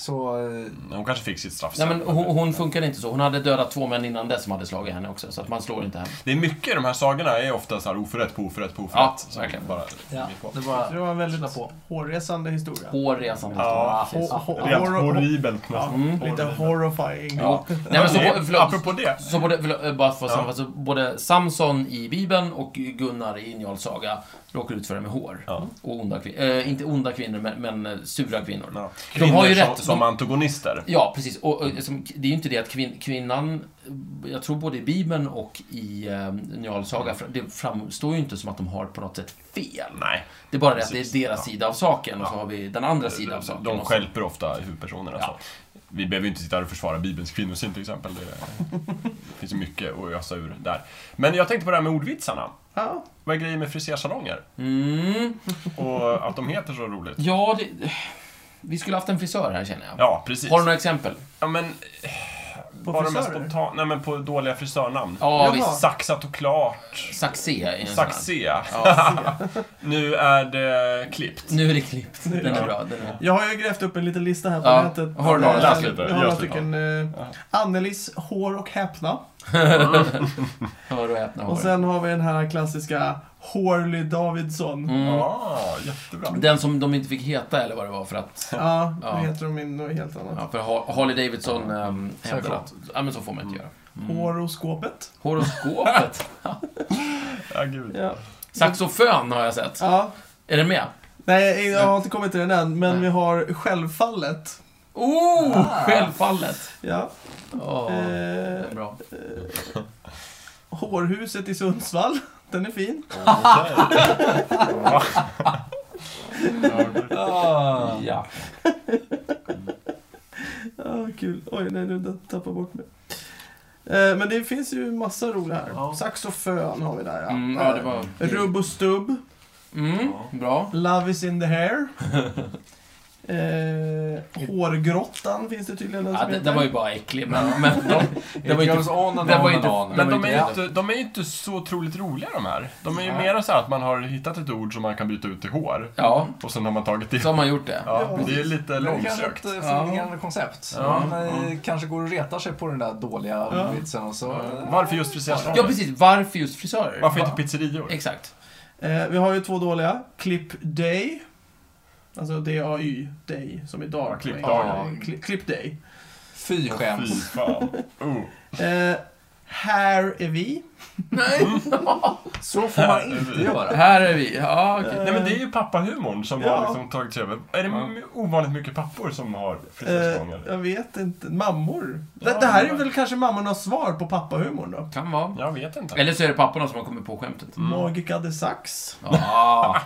E: Så... eh,
C: Hon kanske fick sitt straff
B: Nej,
C: sen.
B: men hon, hon funkade inte så. Hon hade dödat två män innan dess som hade slagit henne också. Så att man slår inte henne.
C: Det är mycket i de här sagorna är ofta så här oförrätt på oförrätt på
B: Ja,
C: oförrätt. som
B: verkligen.
C: Bara,
E: Ja,
C: vi får-
E: det
A: Det
E: var...
A: var en väldigt
E: Slå på.
A: hårresande historia.
B: Hårresande
C: Ja,
B: historia. precis.
A: hå- hå-
C: Rent
A: horror-
C: horribelt.
A: Ja,
C: nästan.
A: lite
C: Horribelt.
A: horrifying.
B: Jo. Nej, men så,
C: Det-
B: förlåt,
C: Apropå det.
B: Så både, förlåt, eh, bara för att
C: Ja.
B: sammanfatta, så både Samson i Bibeln och Gunnar i Njáls saga råkar ut för det med hår.
C: Ja.
B: Och onda kvinnor. Eh, inte onda kvinnor, men, men eh, sura kvinnor.
C: Ja.
B: De
C: Kvinnor
B: har ju
C: som,
B: rätt,
C: som
B: de-
C: antagonister.
B: Ja, precis. Och, eh, som, det är ju inte det att kvin, kvinnan, eh, jag tror både i Bibeln och i eh, Njáls saga, fr- det framstår ju inte som att de har på något sätt fel.
C: Nej,
B: Det är bara det att det
C: Precis.
B: är deras
C: Ja.
B: sida av saken och så
C: Ja.
B: har vi den andra sidan av
C: de,
B: saken.
C: de
B: också.
C: stjälper ofta huvudpersonerna.
B: Ja.
C: Så. Vi behöver ju inte sitta här och försvara Bibelns kvinnosyn till exempel. Det,
B: *laughs*
C: det finns ju mycket att ösa ur där. Men jag tänkte på det här med ordvitsarna.
A: Ja.
C: Vad är grejen med frisersalonger?
B: Mm.
C: Och att de heter så roligt.
B: Ja, det, vi skulle haft en frisör här känner jag.
C: Ja, precis.
B: Har du några exempel?
C: Ja, men... eh,
A: På
C: bara de mest
A: frisörer?
C: spontana... Nej, men på dåliga frisörnamn.
B: Ja,
A: Jaha.
B: visst.
C: Saxat och klart.
B: Saxé är en sån här.
C: Saxé.
B: Ja,
C: Nu är det
B: *laughs*
C: klippt.
B: nu är det klippt. Den är bra. Den är...
A: Jag har ju grävt upp en liten lista här på
B: Ja,
A: nätet.
B: har du några?
A: Eh,
C: Läs lite,
A: vi
C: gör
A: har några
C: lite.
A: stycken. Eh, Annelies hår och häpna.
B: Hör och häpna
A: Och
B: hår.
A: sen har vi den här klassiska Horly Davidsson.
B: Mm.
C: Ja, Ah, jättebra.
B: Den som de inte fick heta eller vad det var för att...
A: Ja, nu
B: Ja.
A: heter de in något helt annat.
B: Ja, för Ha- Harley Davidson ähm, hävdade
E: klart.
B: att... Ja, men så får man inte göra. Mm.
A: Horoskopet.
B: Horoskopet.
C: Ja, gud.
A: Ja.
B: Saxofön har jag sett.
A: ja.
B: Är den med?
A: Nej, jag har inte kommit till den än, men
B: Nej.
A: vi har Självfallet.
B: Oh! Självfallet.
A: Ja.
B: Åh,
A: Eh,
B: den är bra.
A: hårhuset i Sundsvall. *laughs* Den är fin.
C: Okej.
E: Ah.
B: Ja.
A: Ja, kul. Oj, nej, nu tappar jag bort mig. Eh, Men det finns ju massa roliga här.
E: Ja.
A: Saxofön har vi där, ja.
B: Mm, ja, det var...
A: Eh, Rubb och stubb.
B: Mm, bra.
A: Love is in the
B: *laughs*
A: hair. Eh, hårgrottan finns det tydligen en
B: Ja,
A: som
B: det,
A: heter.
B: den var ju bara äcklig, men... men det var ju inte...
E: on and
B: det var
E: on
B: ju
E: and
B: inte-
E: on.
C: Men de
B: var
C: är,
B: ju
C: ju
B: det.
C: inte, de är ju inte så otroligt roliga de här. De är ju
E: Nej.
C: mera så här att man har hittat ett ord som man kan byta ut till hår.
B: Ja,
C: Och sen har man tagit det.
B: så har man gjort det.
C: Ja,
A: Ja.
C: det är lite
E: Det är kanske ett
C: långsökt.
E: eh, fungerande koncept.
C: Ja.
E: Man eh, kanske går och retar sig på den där dåliga vitsen och så... eh,
C: Varför just frisersalonger?
B: Ja, precis. Varför just frisörer?
C: Varför inte pizzerior?
B: Exakt.
A: Eh, vi har ju två dåliga. Clip Day. Alltså D-A-Y, Day, som idag.
C: Ja, Clip
E: Day.
A: Cli- Clip Day.
E: Fy
C: Fy
E: skäms.
C: fan. Oh.
A: Eh, här är vi.
B: Nej,
E: Så får
C: *laughs*
E: man inte göra.
B: här är vi. Ja, okej.
C: Nej men det är ju pappahumorn som
A: Ja.
C: har liksom tagit sig över. Är det m- ovanligt mycket pappor som har
A: Eh,
C: frisersalonger?
A: jag vet inte. Mammor.
C: Ja,
A: det, det här är
C: men-
A: väl kanske mammornas svar på pappahumorn då.
B: Kan vara.
C: Jag vet inte.
B: Eller så är det papporna som har kommit på skämtet.
A: Magica de Sax.
B: Ah,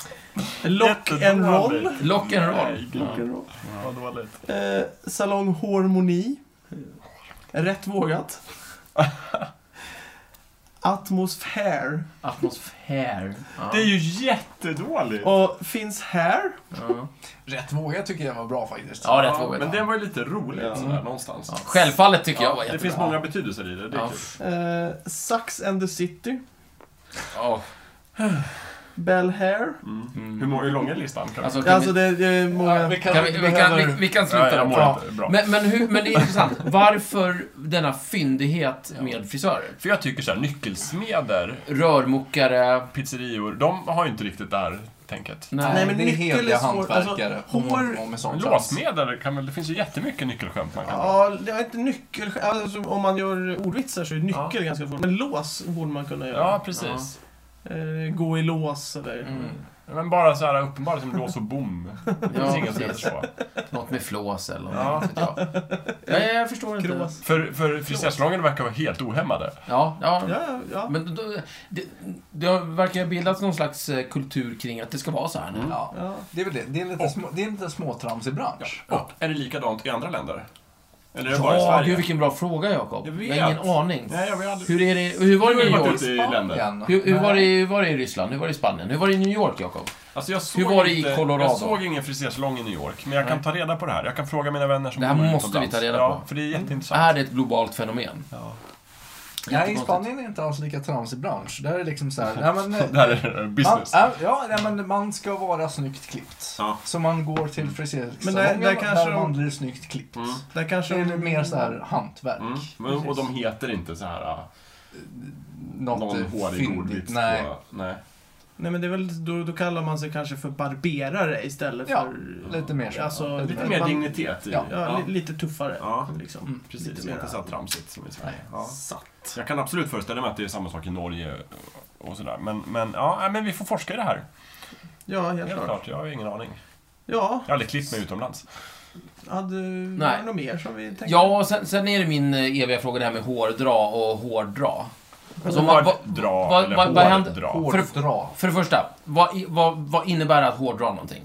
A: Lock
C: Jättedåligt.
A: and roll.
B: lock and roll.
C: Nej, gud,
A: Lock and roll.
C: Vad dåligt.
A: Eh, salong Harmoni. Rätt vågat. Atmosfär.
B: *laughs* Atmosfär. Ja.
C: Det är ju jättedåligt.
A: Och finns här.
B: Ja.
E: Rätt våga tycker jag var bra faktiskt.
B: Ja, rätt
C: men
B: vågat.
C: det var ju lite roligt
A: Ja.
C: sådär någonstans.
B: Ja, Självfallet tycker jag
C: Ja,
B: var
C: det
B: jättebra.
C: finns många betydelser i det. det är
B: Ja.
C: kul.
A: Eh, Sax and the City.
B: Ja.
A: Bell Hair.
C: Mm. Hur, många, hur lång är listan? Kan
B: Mm. Alltså,
C: alltså,
B: kan
A: Alltså
B: vi,
A: det det är
E: Ja,
A: många...
E: vi
B: kan
E: kanske
B: vi,
E: inte
B: vi, kan, vi,
E: behöver...
B: vi kan
C: ja,
B: sluta
C: jag
B: där.
C: mår inte bra.
B: Men, men, hur, men det är intressant. Varför denna fyndighet med frisörer?
C: För jag tycker såhär, nyckelsmeder,
B: Rörmokare.
C: pizzerior, de har ju inte riktigt det här tänket.
B: Nej.
A: men
E: Nej, men det är
A: nyckel är
E: hederliga
A: svår-
E: hantverkare.
A: alltså,
E: om-
A: hår-
E: om en sån chans.
C: Låsmeder, kan väl, det finns ju jättemycket nyckelskämt man kan dra.
A: Ja, det är inte nyckel... Alltså, om man gör ordvitsar så är nyckel ganska svårt. Men lås borde man kunna göra.
C: Ja, precis.
A: Eh, gå i lås eller...
B: Mm.
C: Men bara så här uppenbart som lås och *laughs* bom. Det finns
B: Ja,
C: inget som heter
B: precis.
C: så.
B: Något med flås eller något.
C: Ja.
B: Ja. Jag. Nej, jag förstår inte.
A: Krås.
C: För, för frisersalonger verkar vara helt ohämmade.
B: Ja, ja.
A: Ja, ja.
B: Men då, det, det har- verkar ha bildats någon slags eh, kultur kring att det ska vara så här nu.
E: Ja.
A: ja.
E: Det är väl det. Det är en lite, små, det är en lite småtramsig bransch.
C: Och är det likadant i andra länder?
F: Eller är det bara i
B: Ja,
F: Sverige?
B: gud vilken bra fråga Jakob.
F: Jag
B: Jag,
F: vet.
B: har ingen aning.
F: Nej, jag vet
B: Hur, är det, hur var
F: Du har
B: det
F: ju
B: i New
F: varit
B: York?
F: ute i länder.
B: Hur, hur, var det, hur var det i Ryssland? Hur var det i Spanien? Hur var det i New York, Jakob?
C: Alltså jag såg
B: Hur var det i
C: inte,
B: Colorado?
C: Jag såg ingen frisersalong i New York, men jag kan ta reda på det här. Jag kan fråga mina vänner som
B: Det här
C: bor
B: måste
C: utomlands.
B: vi ta reda
C: Ja,
B: på. Äh.
C: för det är jätteintressant.
B: Är det ett globalt fenomen?
C: Ja. *laughs*
E: Nej, i
B: Jättekonstigt.
E: Spanien är det inte alls lika tramsig bransch. Där är det liksom så här, nej, men, eh,
C: Det här är
E: man,
C: business.
E: äh, ja, nej, men man ska vara snyggt klippt.
F: Ja.
E: Så man går till frisersalongen
A: Men där- där kanske
E: där man
A: de-
E: blir snyggt klippt.
C: Mm.
A: Där kanske
E: Det är mer så här hantverk.
C: Mm. Men, och de heter inte så här äh,
E: Något
C: någon
E: eh,
C: hårig
E: fyndigt.
C: ordvits
E: Nej.
C: på... Nej.
A: Nej men det är väl, då, då kallar man sig kanske för barberare istället
E: Ja,
A: för...
E: Lite mer så.
A: Alltså,
E: Lite
C: Lite
A: man-
C: mer dignitet i...
E: Ja.
A: Ja, li- lite tuffare.
F: Ja.
A: Liksom.
C: Mm, Precis,
A: Lite
C: det är
A: mer-
C: inte så här tramsigt som i Sverige.
F: Nej.
C: Ja.
F: Satt.
C: Jag kan absolut föreställa mig att det är samma sak i Norge och sådär. Men, men, ja, nej, men vi får forska i det här.
A: Ja, helt,
C: Helt
A: klart.
C: klart, jag har ingen aning.
A: Ja,
C: Jag har aldrig klippt mig utomlands.
A: hade var
B: Nej.
A: det något mer som vi tänkte?
B: Ja, och sen, sen är det min eh, eviga fråga det här med hårdra och hårdra. Alltså, om man- vad-
C: Hårddra
B: vad-
C: eller
B: vad- vad händer-
C: hårddra.
E: Hårdra.
B: För det första, vad, i- vad, vad innebär det att hårdra någonting?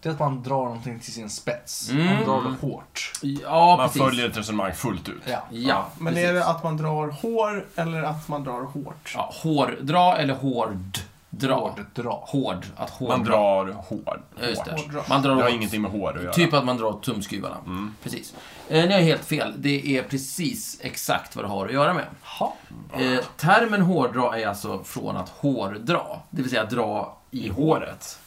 E: Det är att man drar någonting till sin spets.
B: Mm.
E: Man drar det hårt.
B: Ja,
C: Man
B: precis.
C: följer ett resonemang fullt ut.
E: Ja.
B: Ja,
A: Men
B: precis.
A: är det att man drar hår eller att man drar hårt?
B: ja, hårdra eller hård? Dra.
E: Hårddra.
B: Hård. Att hård.
C: Man drar hår.
B: Ja, just det.
C: hårt.
A: Hårdra.
B: Man
C: Det
B: drar
C: har
B: åt.
C: ingenting med hår att göra.
B: Typ att man drar åt tumskruvarna. Precis. Eh, ni har helt fel. Det är precis exakt vad det har att göra med.
E: Ha.
B: Eh, termen hårdra är alltså från att hårdra, det vill säga dra i håret.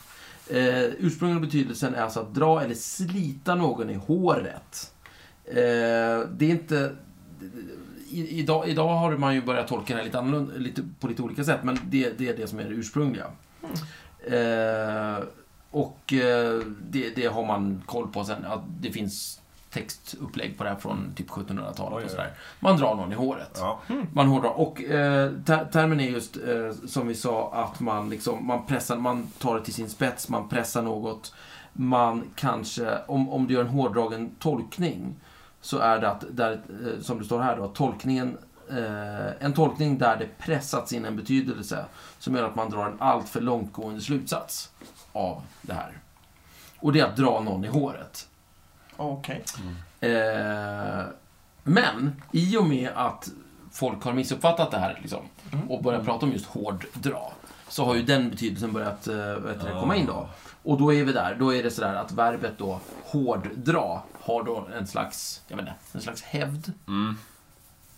B: Eh, ursprungligen betydelsen är alltså att dra eller slita någon i håret. Eh, det är inte... I, idag, idag har man ju börjat tolka det här lite annorlunda, lite, på lite olika sätt, men det, det är det som är det ursprungliga. Eh, och eh, det, det har man koll på sen. Att det finns textupplägg på det här från typ 1700-talet
C: Oj,
B: och
C: oj.
B: sådär. Man drar någon i håret.
C: Ja.
B: Man hårdrar. Och eh, ter- termen är just eh, som vi sa att man liksom, man pressar, man tar det till sin spets, man pressar något. Man kanske, om, om du gör en hårdragen tolkning, så är det att, där, eh, som det står här då, tolkningen, eh, en tolkning där det pressats in en betydelse som gör att man drar en alltför långtgående slutsats av det här. Och det är att dra någon i håret.
A: Okej.
B: Eh, men i och med att folk har missuppfattat det här liksom,
C: Mm.
B: och börjar prata om just hård dra så har ju den betydelsen börjat eh, vet du, komma in då.
C: Ah.
B: Och då är vi där. Då är det sådär att verbet då hårddra har då en slags, jag vet inte, en slags hävd.
C: Mm.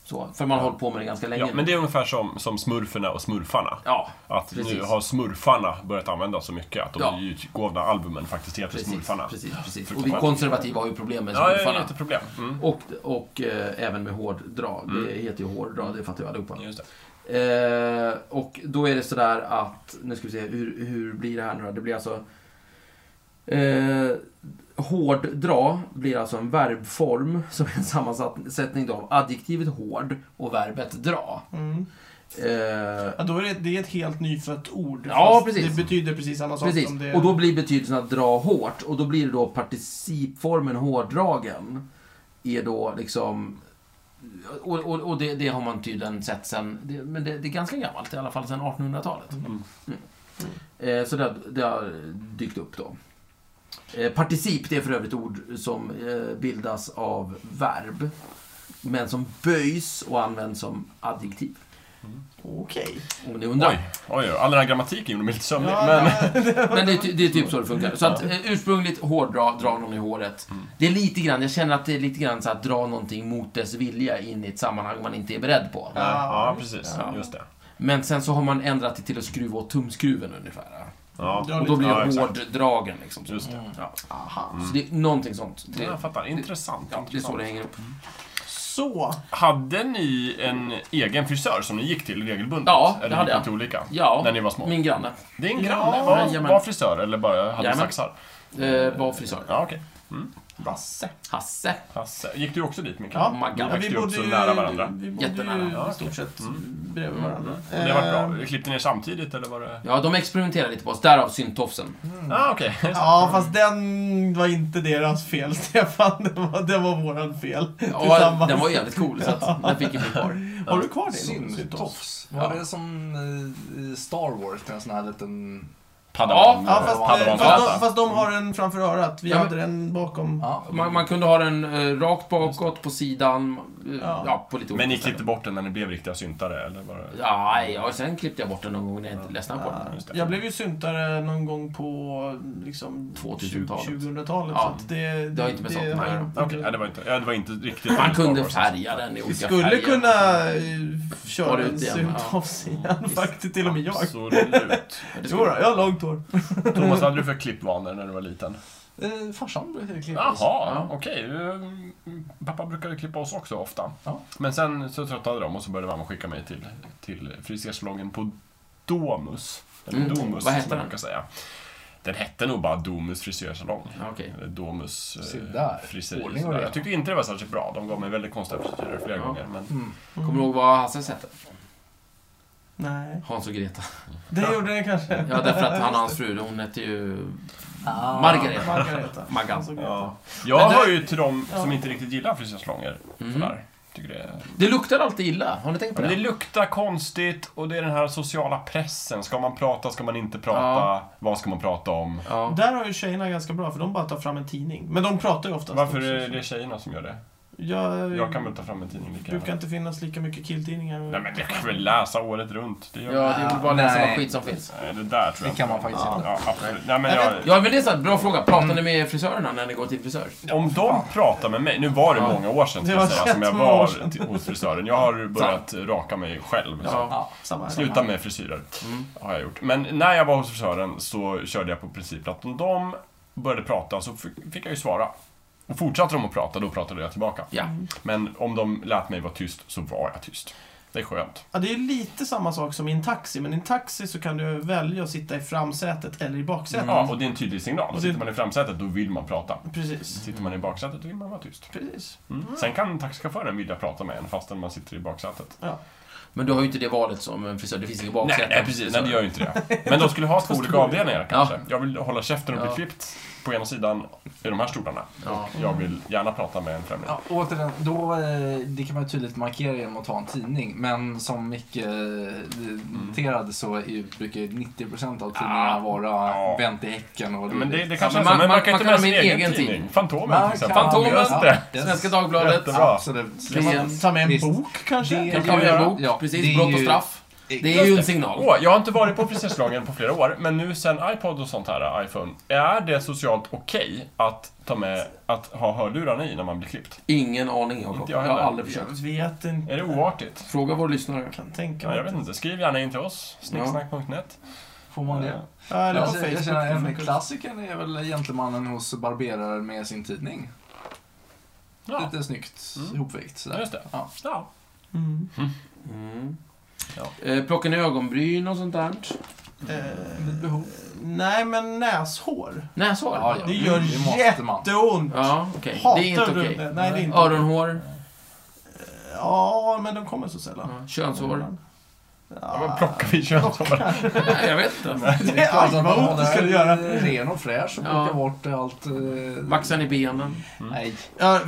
B: Så, för man har hållit på med det ganska länge.
C: Ja, men det är ungefär som, som smurferna och smurfarna.
B: Ja,
C: Att nu
B: precis.
C: har smurfarna börjat användas så mycket att de
B: Ja.
C: nyutgåvna albumen faktiskt heter
B: precis,
C: smurfarna.
B: precis, precis. Och vi
C: Fruktansvärt.
B: konservativa har ju problem med
C: Ja, det är
B: smurfarna.
C: lite problem. Mm.
B: Och, och eh, även med hårddrag. Det heter ju hårddrag, det fattar ju allihopa.
C: Just det.
B: Eh, och då är det sådär att, nu ska vi se, hur, hur blir det här nu då? Det blir alltså... Eh, hårddra blir alltså en verbform som är en sammansättning då av adjektivet hård och verbet dra.
A: Mm.
B: Eh,
A: Ja, då är det, det är ett helt nyfött ord.
B: Ja,
A: fast
B: precis.
A: Det betyder precis samma sak
B: precis,
A: som det...
B: och då blir betydelsen att dra hårt och då blir det då participformen hårdragen är då liksom och, och, och det, det har man tydligen sett sen, det, men det, det är ganska gammalt, i alla fall sedan 1800-talet.
C: Mm.
B: Eh, Så det, har- det har dykt upp då. Eh, Particip, det är för övrigt ord som eh, bildas av verb. Men som böjs och används som adjektiv.
A: Okej.
B: Om ni
C: Oj,
B: undrar.
C: oj, oj. All den här grammatiken gjorde mig lite sömnig.
A: Ja,
C: men...
A: nej,
B: Men det, är ty- det är typ så det funkar. Så att eh, ursprungligt hårdra, dra någon i håret.
C: Mm.
B: Det är lite grann, jag känner att det är lite grann så att dra någonting mot dess vilja in i ett sammanhang man inte är beredd på.
C: Ja, precis.
B: Ja.
C: Just det.
B: Men sen så har man ändrat det till att skruva åt tumskruven ungefär.
C: Ja.
A: Ja,
B: Och då blir
C: ja,
B: det
C: exakt.
B: hårddragen liksom. Så.
C: Just det. Mm.
B: Ja.
A: Aha.
B: Så det är någonting sånt.
C: Ja, Mm.
B: Det,
C: Jag fattar. Intressant.
B: ja, det är så
C: intressant.
B: det hänger upp.
A: Så.
C: Hade ni en egen frisör som ni gick till regelbundet?
B: Ja, det
C: eller
B: hade
C: gick
B: jag.
C: ni till olika?
B: Ja,
C: När ni var små?
B: min granne.
A: Ja.
C: Din granne var,
B: Jajamän.
C: var frisör eller bara hade
B: Jajamän.
C: saxar?
B: Eh, var frisör.
C: Ja, okej.
A: Basse.
B: Hasse.
C: Hasse. Gick du också dit, Mikael?
A: Ja.
B: Maggan.
A: Ja,
C: Vi växte upp så nära varandra.
A: Vi bodde
B: Jättenära.
A: ju
C: Ja,
A: i stort sett
B: Mm.
A: bredvid varandra.
C: Och Det var
A: Eh,
C: bra. Klippte ni er samtidigt eller var det...
B: Ja, de experimenterar lite på oss. Därav syntofsen.
C: Ah, okej.
A: Ja, fast den var inte deras fel, *laughs* Stefan. Det var, det var våran fel.
B: Ja,
A: tillsammans.
B: den var ju jävligt cool, så att den fick ju bli kvar.
A: Har du kvar din?
E: Syntofs. Var det som eh, i Star Wars med en sån här liten
B: Ja,
C: Padawan.
A: Ja, fast, eh,
C: Padawan
A: fast,
C: Plata.
A: de, fast de har en framför örat. Vi
B: Ja, men-
A: hade den bakom.
E: Ja.
B: Man, man kunde ha den eh, rakt bakåt, på sidan, eh, ja.
A: Ja.
B: på lite olika
C: Men ni
B: ställen.
C: klippte bort den när ni blev riktiga syntare, eller? Var det...
B: Ja, nej, ja, sen klippte jag bort den någon gång när jag inte ledsnade på den.
A: Ja,
C: just det.
A: Eh, jag blev ju syntare någon gång på liksom
B: 2000-talet.
A: 2000-talet.
B: Ja.
A: så att det,
B: Det har inte med saken att göra.
A: inte-
C: Okej, ja, det var inte, ja, det var inte riktigt...
B: Man kunde
C: Star Wars.
B: färga den i
A: Vi
B: olika
A: skulle
B: färger.
A: kunna eh,
B: Var
A: köra
B: det
A: en
B: ut igen?
A: synt
B: Ja.
A: av sig igen
B: Visst.
A: faktiskt, till och med jag.
C: Absolut.
B: Ja, det
A: Jodå,
B: skulle-
A: jag har långt hår.
C: Thomas, vad hade du för klippvanor när du var liten?
E: Eh, farsan brukade klippa
C: Jaha,
E: oss.
B: Ja.
C: okej. Mm, Pappa brukade klippa oss också ofta.
E: Ja.
C: Men sen så tröttnade de och så började mamma skicka mig till, till frisersalongen på Domus. Eller
B: Mm.
C: Domus,
B: Vad hette
C: som jag
B: den?
C: brukar säga. Den hette nog bara Domus frisörsalong.
B: Ja, Okej.
C: Eller Domus
E: Se
C: eh,
E: där.
C: friseri.
E: Ordning och
C: sådär.
E: reda.
C: Jag tyckte inte det var särskilt bra. De gav mig väldigt konstiga frisyrer flera
B: Ja.
C: gånger. Men
E: Mm.
B: Kommer du ihåg vad Hasses hette?
A: Nej,
B: Hans och Greta.
A: det gjorde det kanske.
B: Ja, därför att han och hans fru, hon hette ju
E: Ah.
B: Margareta.
A: Margareta.
B: Maggan.
A: Alltså, Greta.
C: Ja. Jag
B: Men det-
C: hör ju till de som
A: Ja.
C: inte riktigt gillar frisersalonger.
B: Mhm.
C: Sådär. Tycker det är...
B: Det luktar alltid illa, har ni tänkt på
C: Men det
B: det?
C: luktar konstigt och det är den här sociala pressen. Ska man prata, ska man inte prata?
B: Ja.
C: Vad ska man prata om?
B: Ja.
A: Där har ju tjejerna ganska bra, för de bara tar fram en tidning. Men de pratar ju oftast
C: Varför
A: också,
C: är
A: så.
C: det tjejerna som gör det?
A: Jag,
C: Jag kan väl ta fram en tidning lika
A: brukar
C: gärna.
A: inte finnas lika mycket killtidningar.
C: Nej men jag kan väl läsa året runt. Det
B: Ja,
C: gör
B: det är väl bara att läsa
E: Nej.
B: vad skit som finns.
C: Nej, det där tror jag
E: Det kan man
C: inte.
E: faktiskt inte.
C: Ja, absolut. Nej, men
A: Jag
C: jag,
B: Ja, men det är så här, bra fråga. Pratar ni med frisörerna när ni går till frisör?
C: om de pratar med mig, nu var det
B: Ja.
C: många år sedan ska
A: Det var
C: jag säga, som jag
A: jättemånga år
C: var
A: sedan.
C: till- hos frisören. Jag har börjat raka mig själv. Så.
B: Ja.
A: Samma här.
C: Sluta med frisyrer,
B: Mm.
C: har jag gjort. Men när jag var hos frisören så körde jag på princip att om de började prata så f- fick jag ju svara. Och fortsatte de att prata, då pratade jag tillbaka.
B: Ja.
C: Men om de lät mig vara tyst, så var jag tyst. Det är skönt.
A: Ja, det är lite samma sak som i en taxi, men i en taxi så kan du välja att sitta i framsätet eller i baksätet.
C: Ja, och det är en tydlig signal.
A: Och det-
C: Sitter man i framsätet, då vill man prata.
A: Precis.
C: Sitter man i baksätet, då vill man vara tyst.
A: Precis.
C: Mm. Sen kan taxichauffören vilja prata med en fastän man sitter i baksätet.
A: Ja.
B: Men du har ju inte det valet som en frisör. Det finns inget baksäte.
C: Nej, det gör ju inte det. Men de skulle ha två olika avdelningar kanske.
B: Ja.
C: Jag vill hålla käften och bli
B: Ja.
C: klippt på ena sidan i de här stolarna.
B: Ja.
C: Jag vill gärna prata med en främling.
E: Ja, återigen, då, eh, det kan man ju tydligt markera genom att ta en tidning, men som Micke eh, noterade så är, ju- brukar ju 90% av tidningarna
C: Ah,
E: vara
C: ja.
E: Bent i häcken och
C: Men det, det kanske
B: men
C: är så,
B: man-
C: men
B: man-
C: man kan
B: man
C: inte
B: kan
C: med
B: ha
C: sin
B: min
C: egen,
B: egen
C: tidning.
B: tidning.
C: Fantomen
E: Man
C: till exempel.
E: kan-
B: Fantomen,
E: Ja,
C: det.
E: yes.
B: Svenska Dagbladet.
C: Jättebra. Bra.
E: Absolut.
A: Kan
B: Mm.
A: man ta med en
E: Visst.
A: bok kanske?
E: Det-
B: Kan
A: Kanske.
B: ta med en
E: göra.
B: bok.
E: Ja, det
B: Precis,
E: är
B: brott och
E: ju-
B: straff. Det är
E: Just
B: ju en signal.
C: Åh, jag har inte varit på frisörsalongen på flera år, men nu sen iPod och sånt här, iPhone, är det socialt okej att ta med, att ha hörlurarna i när man blir klippt?
B: Ingen aning, Jakob.
C: Inte
B: Jag
C: jag
B: har
C: heller.
B: aldrig
A: Jag
B: försökt.
A: vet inte.
C: Är det oartigt?
B: Fråga vår lyssnare.
A: kan tänka
C: Ja,
A: mig.
C: jag vet inte, skriv gärna in till oss, snicksnack.net.
E: Får man det?
A: Ja, eller på
E: Alltså, jag
A: Facebook.
E: känner
A: det
E: en
A: funkar.
E: klassiker är väl gentlemannen hos barberaren med sin tidning.
C: Ja,
E: Lite snyggt
C: Mm.
E: ihopvägt sådär.
C: just det.
E: Ja.
C: Ja.
A: Mm.
B: Mm.
C: Ja.
B: Eh, plockar ni ögonbryn och sånt där?
A: Eh,
E: Vid behov.
A: nej, men näshår.
B: Näshår?
E: Ja, ja.
A: Det gör
E: Mm, det måste man.
A: jätteont.
B: Ja, okej.
A: Hatar
B: Det är inte
A: du
B: okej.
A: det? Nej, det är inte
B: Öronhår?
A: Ja, men de kommer så sällan.
B: Ja. Könshår?
C: Ja, men plockar vi könshår?
B: Nej, jag vet
C: *laughs*
B: inte.
A: Det är
E: Klart
A: allt
E: att man
A: vad
E: håller
A: ont det skulle göra.
E: Ren och fräsch och
B: Ja.
E: plockar bort allt... eh,
B: Vaxar ni benen?
E: Nej.
A: Ja,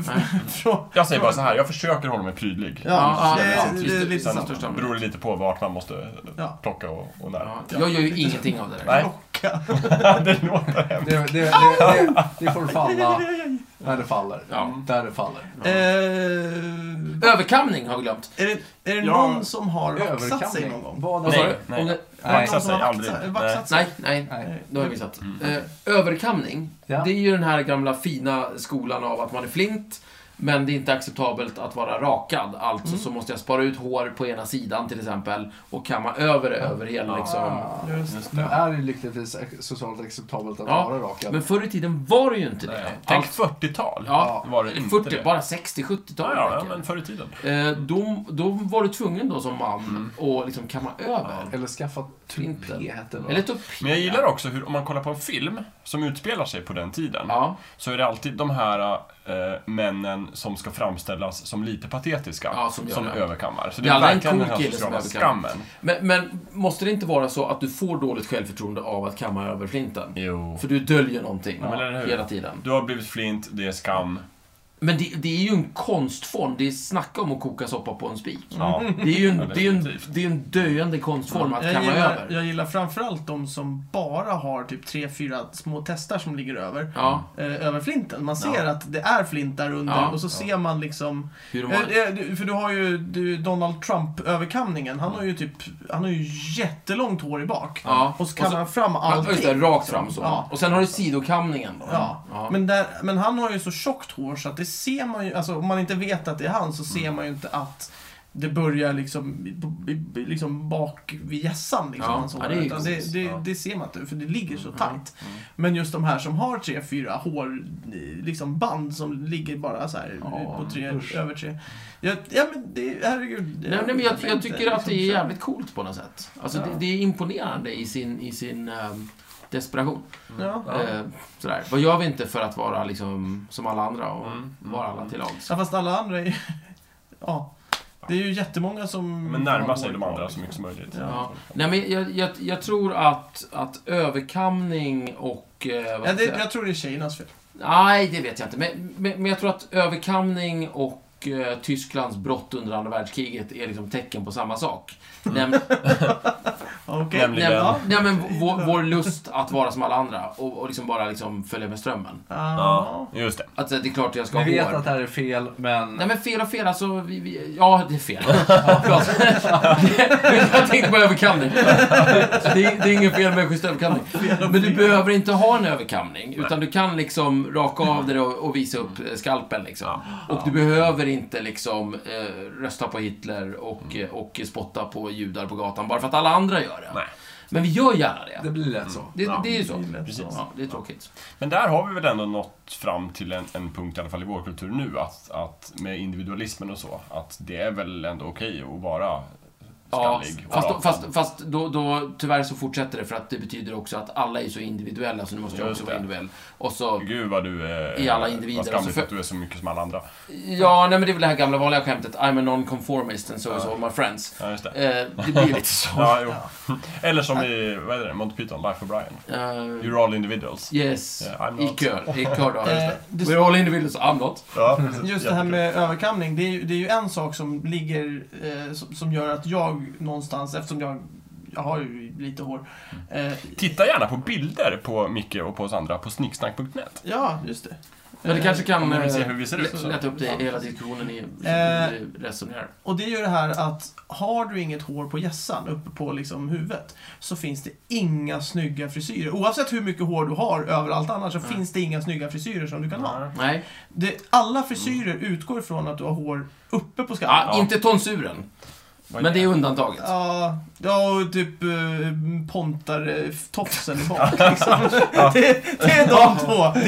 A: från...
C: Jag säger bara så här, jag försöker hålla mig prydlig.
A: Ja,
B: Ja,
A: det,
B: ja,
A: det,
B: just
A: är
B: det.
A: lite
B: Sen-
A: sant.
B: största
C: Sen beror det lite på vart man måste
A: Ja.
C: plocka och, och när.
B: Ja, jag gör ju ingenting av det där.
C: Nej,
A: Plocka.
C: *laughs* det låter
E: Det, det, det, det, det får falla när det faller.
B: Ja.
E: Där det faller.
A: Eh,
B: Överkamning har jag glömt.
A: Är det, är det
C: Ja.
A: någon som har vaxat sig någon gång?
E: Vad
B: Vad sa
C: Nej,
B: du?
C: nej.
B: Om det-
A: Har det
E: Nej.
A: någon
C: sig
A: som har
C: aldrig.
A: vaxat,
C: Nej.
A: vaxat sig?
B: Nej, nej.
E: Nej.
B: Då har jag missat.
C: Mm.
B: Eh, överkamning,
E: Ja.
B: det är ju den här gamla fina skolan av att man är flint, men det är inte acceptabelt att vara rakad. Alltså så måste jag spara ut hår på ena sidan till exempel och kamma över det över hela liksom.
E: Ah.
A: Just.
C: Just
E: Nu
C: det.
E: är det lyckligtvis ac- socialt acceptabelt att
B: Ja,
E: vara rakad.
B: Men förr i tiden var det ju inte det.
C: Nej. Tänk
B: Allt-
C: 40-tal.
B: ja,
C: var det inte
B: 40,
C: det.
B: bara 60-70-tal.
C: Ja, ja,
B: verkar
C: men förr i tiden.
B: det. eh, då, då var du tvungen då som man
C: Mm.
B: att liksom kamma över.
E: Eller skaffa
B: Inte.
E: tupé hette det va?
B: Eller tupé.
C: Men jag gillar också hur, om man kollar på en film som utspelar sig på den tiden,
B: Ja,
C: så är det alltid de här eh, männen som ska framställas som lite patetiska,
B: Ja, som gör det.
C: överkammar. Så
B: Det
C: det
B: är
C: är
B: aldrig en
C: verkligen
B: cool
C: den här
B: kille som
C: sociala
B: överkammar.
C: skammen.
B: men, men måste det inte vara så att du får dåligt självförtroende av att kamma över flinten?
C: Jo.
B: För du döljer någonting
C: Ja, men eller hur?
B: hela tiden.
C: Du har blivit flint, det är skam.
B: Men det, det är ju en konstform. Det är snacka om att koka soppa på en spik.
C: *laughs* Ja.
B: Det är ju en,
C: Ja,
B: det är en,
C: definitivt.
B: det är en döende konstform att
A: Jag
B: kamma
A: gillar,
B: över.
A: jag gillar framförallt de som bara har typ tre fyra små testar som ligger över.
B: Ja,
A: eh, över flinten. Man ser
B: Ja.
A: att det är flint där under
B: Ja.
A: och så ser man liksom...
B: hur de har...
A: Eh, eh, du- För du har ju du, Donald Trump-överkamningen. Han har ju typ... Han har ju jättelångt hår i bak.
B: Ja.
A: Och så kammar
B: Och så-
A: han fram
B: Ja,
A: allting.
B: just det, rakt fram så.
A: Ja.
B: Och sen har du sidokamningen då.
A: Ja. Men, där, men han har ju så tjockt hår så att det ser man ju, alltså om man inte vet att det är han så ser
B: Mm.
A: man ju inte att det börjar liksom, i- i- i- liksom bak vid hjässan. Liksom,
B: Ja,
A: hans hår.
B: ja, Mm. det är ju
A: Utan det,
B: coolt.
A: det,
C: Ja.
A: det ser man inte, för det ligger så tajt. Men just de här som har tre, fyra hår, liksom band som ligger bara så här
E: Ja,
A: på tre,
E: usch.
A: över tre. Ja, ja men det, herregud.
B: Nej, nej, men jag, jag
A: tänkte
B: tycker att
A: liksom
B: det är
A: så här.
B: jävligt coolt på något sätt. Alltså,
A: Ja.
B: det, det är imponerande i sin, i sin ehm, desperation.
A: Ja.
B: Eh, sådär. Vad gör vi inte för att vara liksom, som alla andra och
C: Mm, mm,
B: vara alla till lags?
A: ja, fast alla andra är *laughs* Ja. Det är ju jättemånga som...
C: Men närma
A: har
C: sig
A: hår
C: de
A: kvar,
C: andra
A: liksom.
C: så mycket som möjligt.
B: Ja. Nej, men jag, jag, jag tror att, att överkamning och... Eh, vad
A: Ja,
B: ska
A: det,
B: jag säga?
A: jag tror det är tjejernas fel.
B: Nej, det vet jag inte. Men, men, men jag tror att överkamning och eh, Tysklands brott under andra världskriget är liksom tecken på samma sak. Näm,
A: Okej.
C: Nämligen.
A: Ja.
B: nej, men vår, vår lust att vara som alla andra och, och liksom bara liksom följa med strömmen.
A: Ah.
C: Ja, just det.
B: Att eh, det är klart jag ska
E: Vi
B: ha
E: vet
B: hår.
E: att det här är fel, men...
B: Nej men fel och fel, alltså, vi, vi, ja det är fel. *laughs* Ja, förlåt. jag tänkte på överkamning. Det, är- det är inget fel med schysst överkamning. Men du behöver inte ha en överkamning, utan du kan liksom raka av dig och, och visa upp eh, skalpen liksom. Och du behöver inte liksom eh, rösta på Hitler och, eh, och spotta på judar på gatan bara för att alla andra gör det.
C: Nej.
B: Men vi gör gärna det.
E: Det blir lätt så.
A: Mm.
B: Det,
C: Ja,
B: det är ju så.
A: det är lätt
C: så.
B: Ja, det är tråkigt.
C: Men där har vi väl ändå nått fram till en, en punkt, i alla fall i vår kultur nu, att, att med individualismen och så, att det är väl ändå okej att vara skallig. och
B: fast,
C: rak.
B: då, fast, fast då, då, tyvärr så fortsätter det för att det betyder också att alla är så individuella så nu måste jag
C: Just
B: också vara
C: det.
B: individuell. Och så,
C: Gud vad du är...
B: I alla individer,
C: Vad skamligt
B: alltså, för-
C: att du är så mycket som alla andra.
B: ja, nej men det är väl det här gamla vanliga skämtet I'm a non-conformist and so is all my friends.
C: Ja, just det.
B: Eh, det blir lite så.
C: Ja, jo. Eller som i, vad heter det, Monty Python, Life of Brian.
B: Eh,
C: *laughs* You're all individuals.
B: yes,
C: Yeah, I'm
B: i
C: not.
B: kör. I kör då. just
A: *laughs*
B: det.
A: Eh, det-
B: We're all individuals, I'm not.
C: Ja, precis.
A: Mm. Just det här
C: Jättekul.
A: med överkamning, det är, ju- det är ju en sak som ligger, eh, som, som gör att jag någonstans, eftersom jag, jag har ju lite hår. Eh,
C: Titta gärna på bilder på Micke och på oss andra på snicksnack.net.
A: ja, just det.
B: Men det kanske kan
C: Om ni vill se
B: eh,
C: hur vi ser ut.
B: lä-
C: så-
B: lätta upp det i hela diskussionen i
A: Eh,
B: i- resonerar.
A: Och det är ju det här att har du inget hår på hjässan, uppe på liksom huvudet, så finns det inga snygga frisyrer. Överallt hur mycket hår du har överallt annars så
B: Mm.
A: finns det inga snygga frisyrer som du kan ha.
B: Nej,
A: Det, alla frisyrer utgår ifrån att du har hår uppe på skallen.
B: ah, inte tonsuren.
C: Vad
B: Men det är undantaget.
A: Ja, ja och typ eh, pontar eh, tofsen i
C: *laughs*
A: bak liksom. det, det är de två.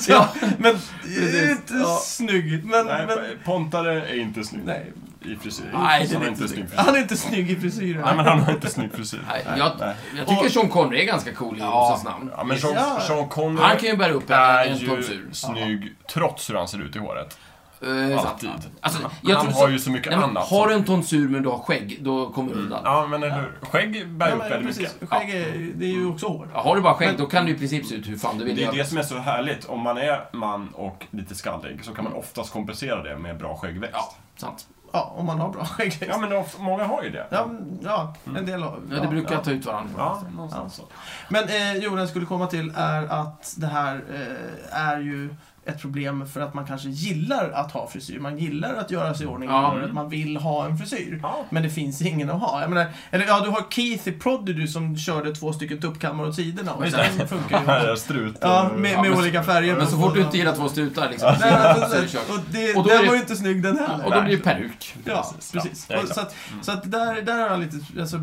A: Så, men det är inte
C: Ja.
A: snygg. Men,
C: Nej,
A: men,
C: Pontare är inte snygg
A: nej,
C: i frisyr.
B: Nej, det är
C: han är
B: inte
C: inte
B: snygg.
C: snygg frisyr.
A: han är inte snygg i frisyren.
C: Nej, men han har inte snygg frisyr.
B: Nej, jag,
C: nej.
B: jag tycker
A: Och-
B: Sean Connery är ganska cool i
E: Ja.
B: Josefs namn.
C: Ja, men Sean,
A: Ja.
C: Sean Connery
B: Han kan ju bära upp en,
C: är
B: en
C: ju
B: tonsur.
C: snygg trots hur han ser ut i håret.
B: Eh, sant.
C: Alltid.
B: Alltså, jag
C: Han
B: tror
C: har
B: så,
C: ju så mycket
B: nej, men,
C: annat.
B: har du
C: som-
B: en tonsur men du har skägg, då kommer du undan.
C: Ja, men eller hur? Skägg bär
A: Ja,
C: upp
A: men,
C: väldigt mycket.
A: precis, skägg är, det är ju också hår.
B: Ja, Har du bara skägg,
A: Men-
B: då kan du i princip se ut hur fan du vill.
C: Det är
B: göra.
C: det som är så härligt. Om man är man och lite skallig så kan man oftast kompensera det med bra skäggväxt.
B: Ja, sant.
A: Ja, om man har bra *laughs* skägg.
C: Ja, men of- många har ju det.
A: Ja, men, ja en del har...
B: Ja, det brukar ta ut varandra.
C: Ja, alltså. någonstans så.
A: Men eh, jo, den skulle komma till är att det här eh, är ju ett problem för att man kanske gillar att ha frisyr. Man gillar att göra sig i ordning i
B: Ja.
A: håret. Man vill ha en frisyr.
C: Ja. *laughs*
A: Men det finns ingen att ha. Jag menar, eller ja, du har Keith i Prodigy som körde två stycken tuppkammar åt sidorna. Och
C: Just
A: sen funkar ju.
C: Här är strut.
A: Ja, med, med
B: men-
A: olika färger.
B: Men så fort du inte gillar två strutar liksom.
A: Nej, men
B: så är det
A: precis.
B: kört.
A: och det,
B: Och då är
A: den
B: det-
A: var ju inte snygg den heller.
B: Och då blir det peruk.
A: Ja,
C: Precis.
A: precis.
C: Ja, jag är
A: Och
C: klar.
A: så att, så att där, där har jag lite... Alltså,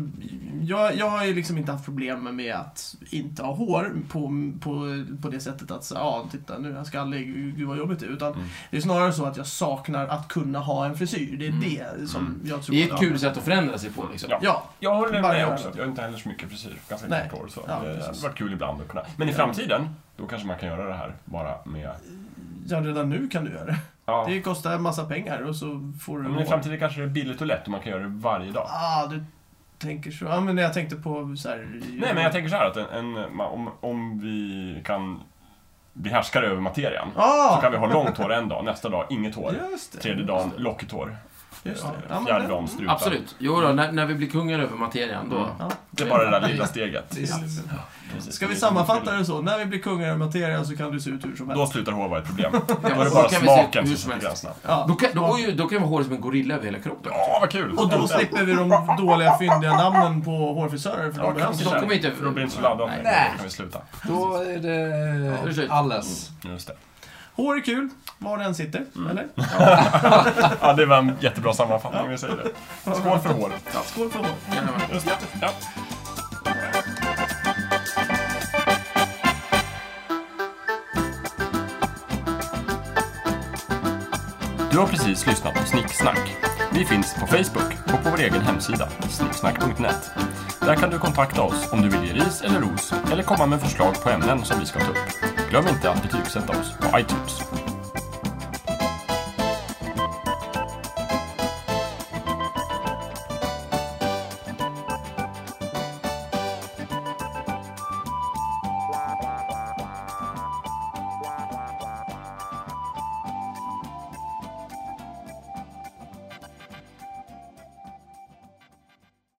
A: jag, jag har ju liksom inte haft problem med att inte ha hår på, på, på det sättet att så, ja, titta nu är jag skallig, gud vad jobbigt det är. Utan
C: Mm.
A: det är snarare så att jag saknar att kunna ha en frisyr. Det är
B: Mm.
A: det som
C: Mm.
A: jag tror.
B: Det är ett kul sätt att förändra sig på liksom.
C: Ja.
A: Ja,
C: Jag håller
A: Bara
C: med
A: göra
C: också.
A: det.
C: Jag har inte heller så mycket frisyr. Ganska
A: Nej.
C: kort hår så.
A: Ja,
C: det hade
A: precis.
C: varit kul ibland att kunna. Men i framtiden, då kanske man kan göra det här bara med...
A: ja, redan nu kan du göra det.
C: Ja.
A: Det kostar en massa pengar och så får du
C: Men i
A: hår.
C: framtiden kanske det är billigt och lätt och man kan göra det varje dag.
A: Ah, du tänker så. Ja, men jag tänkte på så här...
C: Nej, men jag tänker så här att en, en, ma- om, om vi kan blir härskare över materian. Så
A: Ah,
C: kan vi ha långt hår en dag, nästa dag inget hår.
A: just det.
C: Tredje dagen lockigt hår.
A: Just det. Ja, men
C: Fjärde
A: det-
C: dagen strutar.
B: Absolut. Jo då, när, när vi blir kungar över materian då.
C: Mm.
A: Ja.
C: Det är bara det där lilla steget. Precis.
A: Ska vi sammanfatta det så? När vi blir kungar i materia så kan du se ut hur som helst.
C: Då slutar hår vara ett problem. Då
B: Ja,
C: är det
B: då
C: bara
B: kan vi se
C: smaken
B: hur
C: som
B: som
C: sätter
B: helst.
C: gränserna.
A: Ja.
B: Då kan, då, är ju, då kan vi ha håret som en gorilla över hela kroppen.
C: Ja, vad kul!
A: Och då
C: Äntligen.
A: slipper vi de dåliga fyndiga namnen på hårfrisörer. För
C: Ja,
A: de behövs
C: kanske.
A: inte.
B: De kommer inte...
C: För då blir det inte så laddad längre. Då kan vi sluta.
E: Då är
B: Ja,
E: det
B: ursäkta.
E: alles.
C: Just det.
A: Hår är kul, var den sitter.
C: Mm.
A: Eller?
C: Ja, det var en jättebra sammanfattning, vi säger det. Skål för håret.
A: Skål för hår.
B: Jajamän.
C: Just det. Ja. Du har precis lyssnat på Snicksnack. Vi finns på Facebook och på vår egen hemsida, snicksnack.net. Där kan du kontakta oss om du vill ge ris eller ros eller komma med förslag på ämnen som vi ska ta upp. Glöm inte att betygsätta oss på iTunes.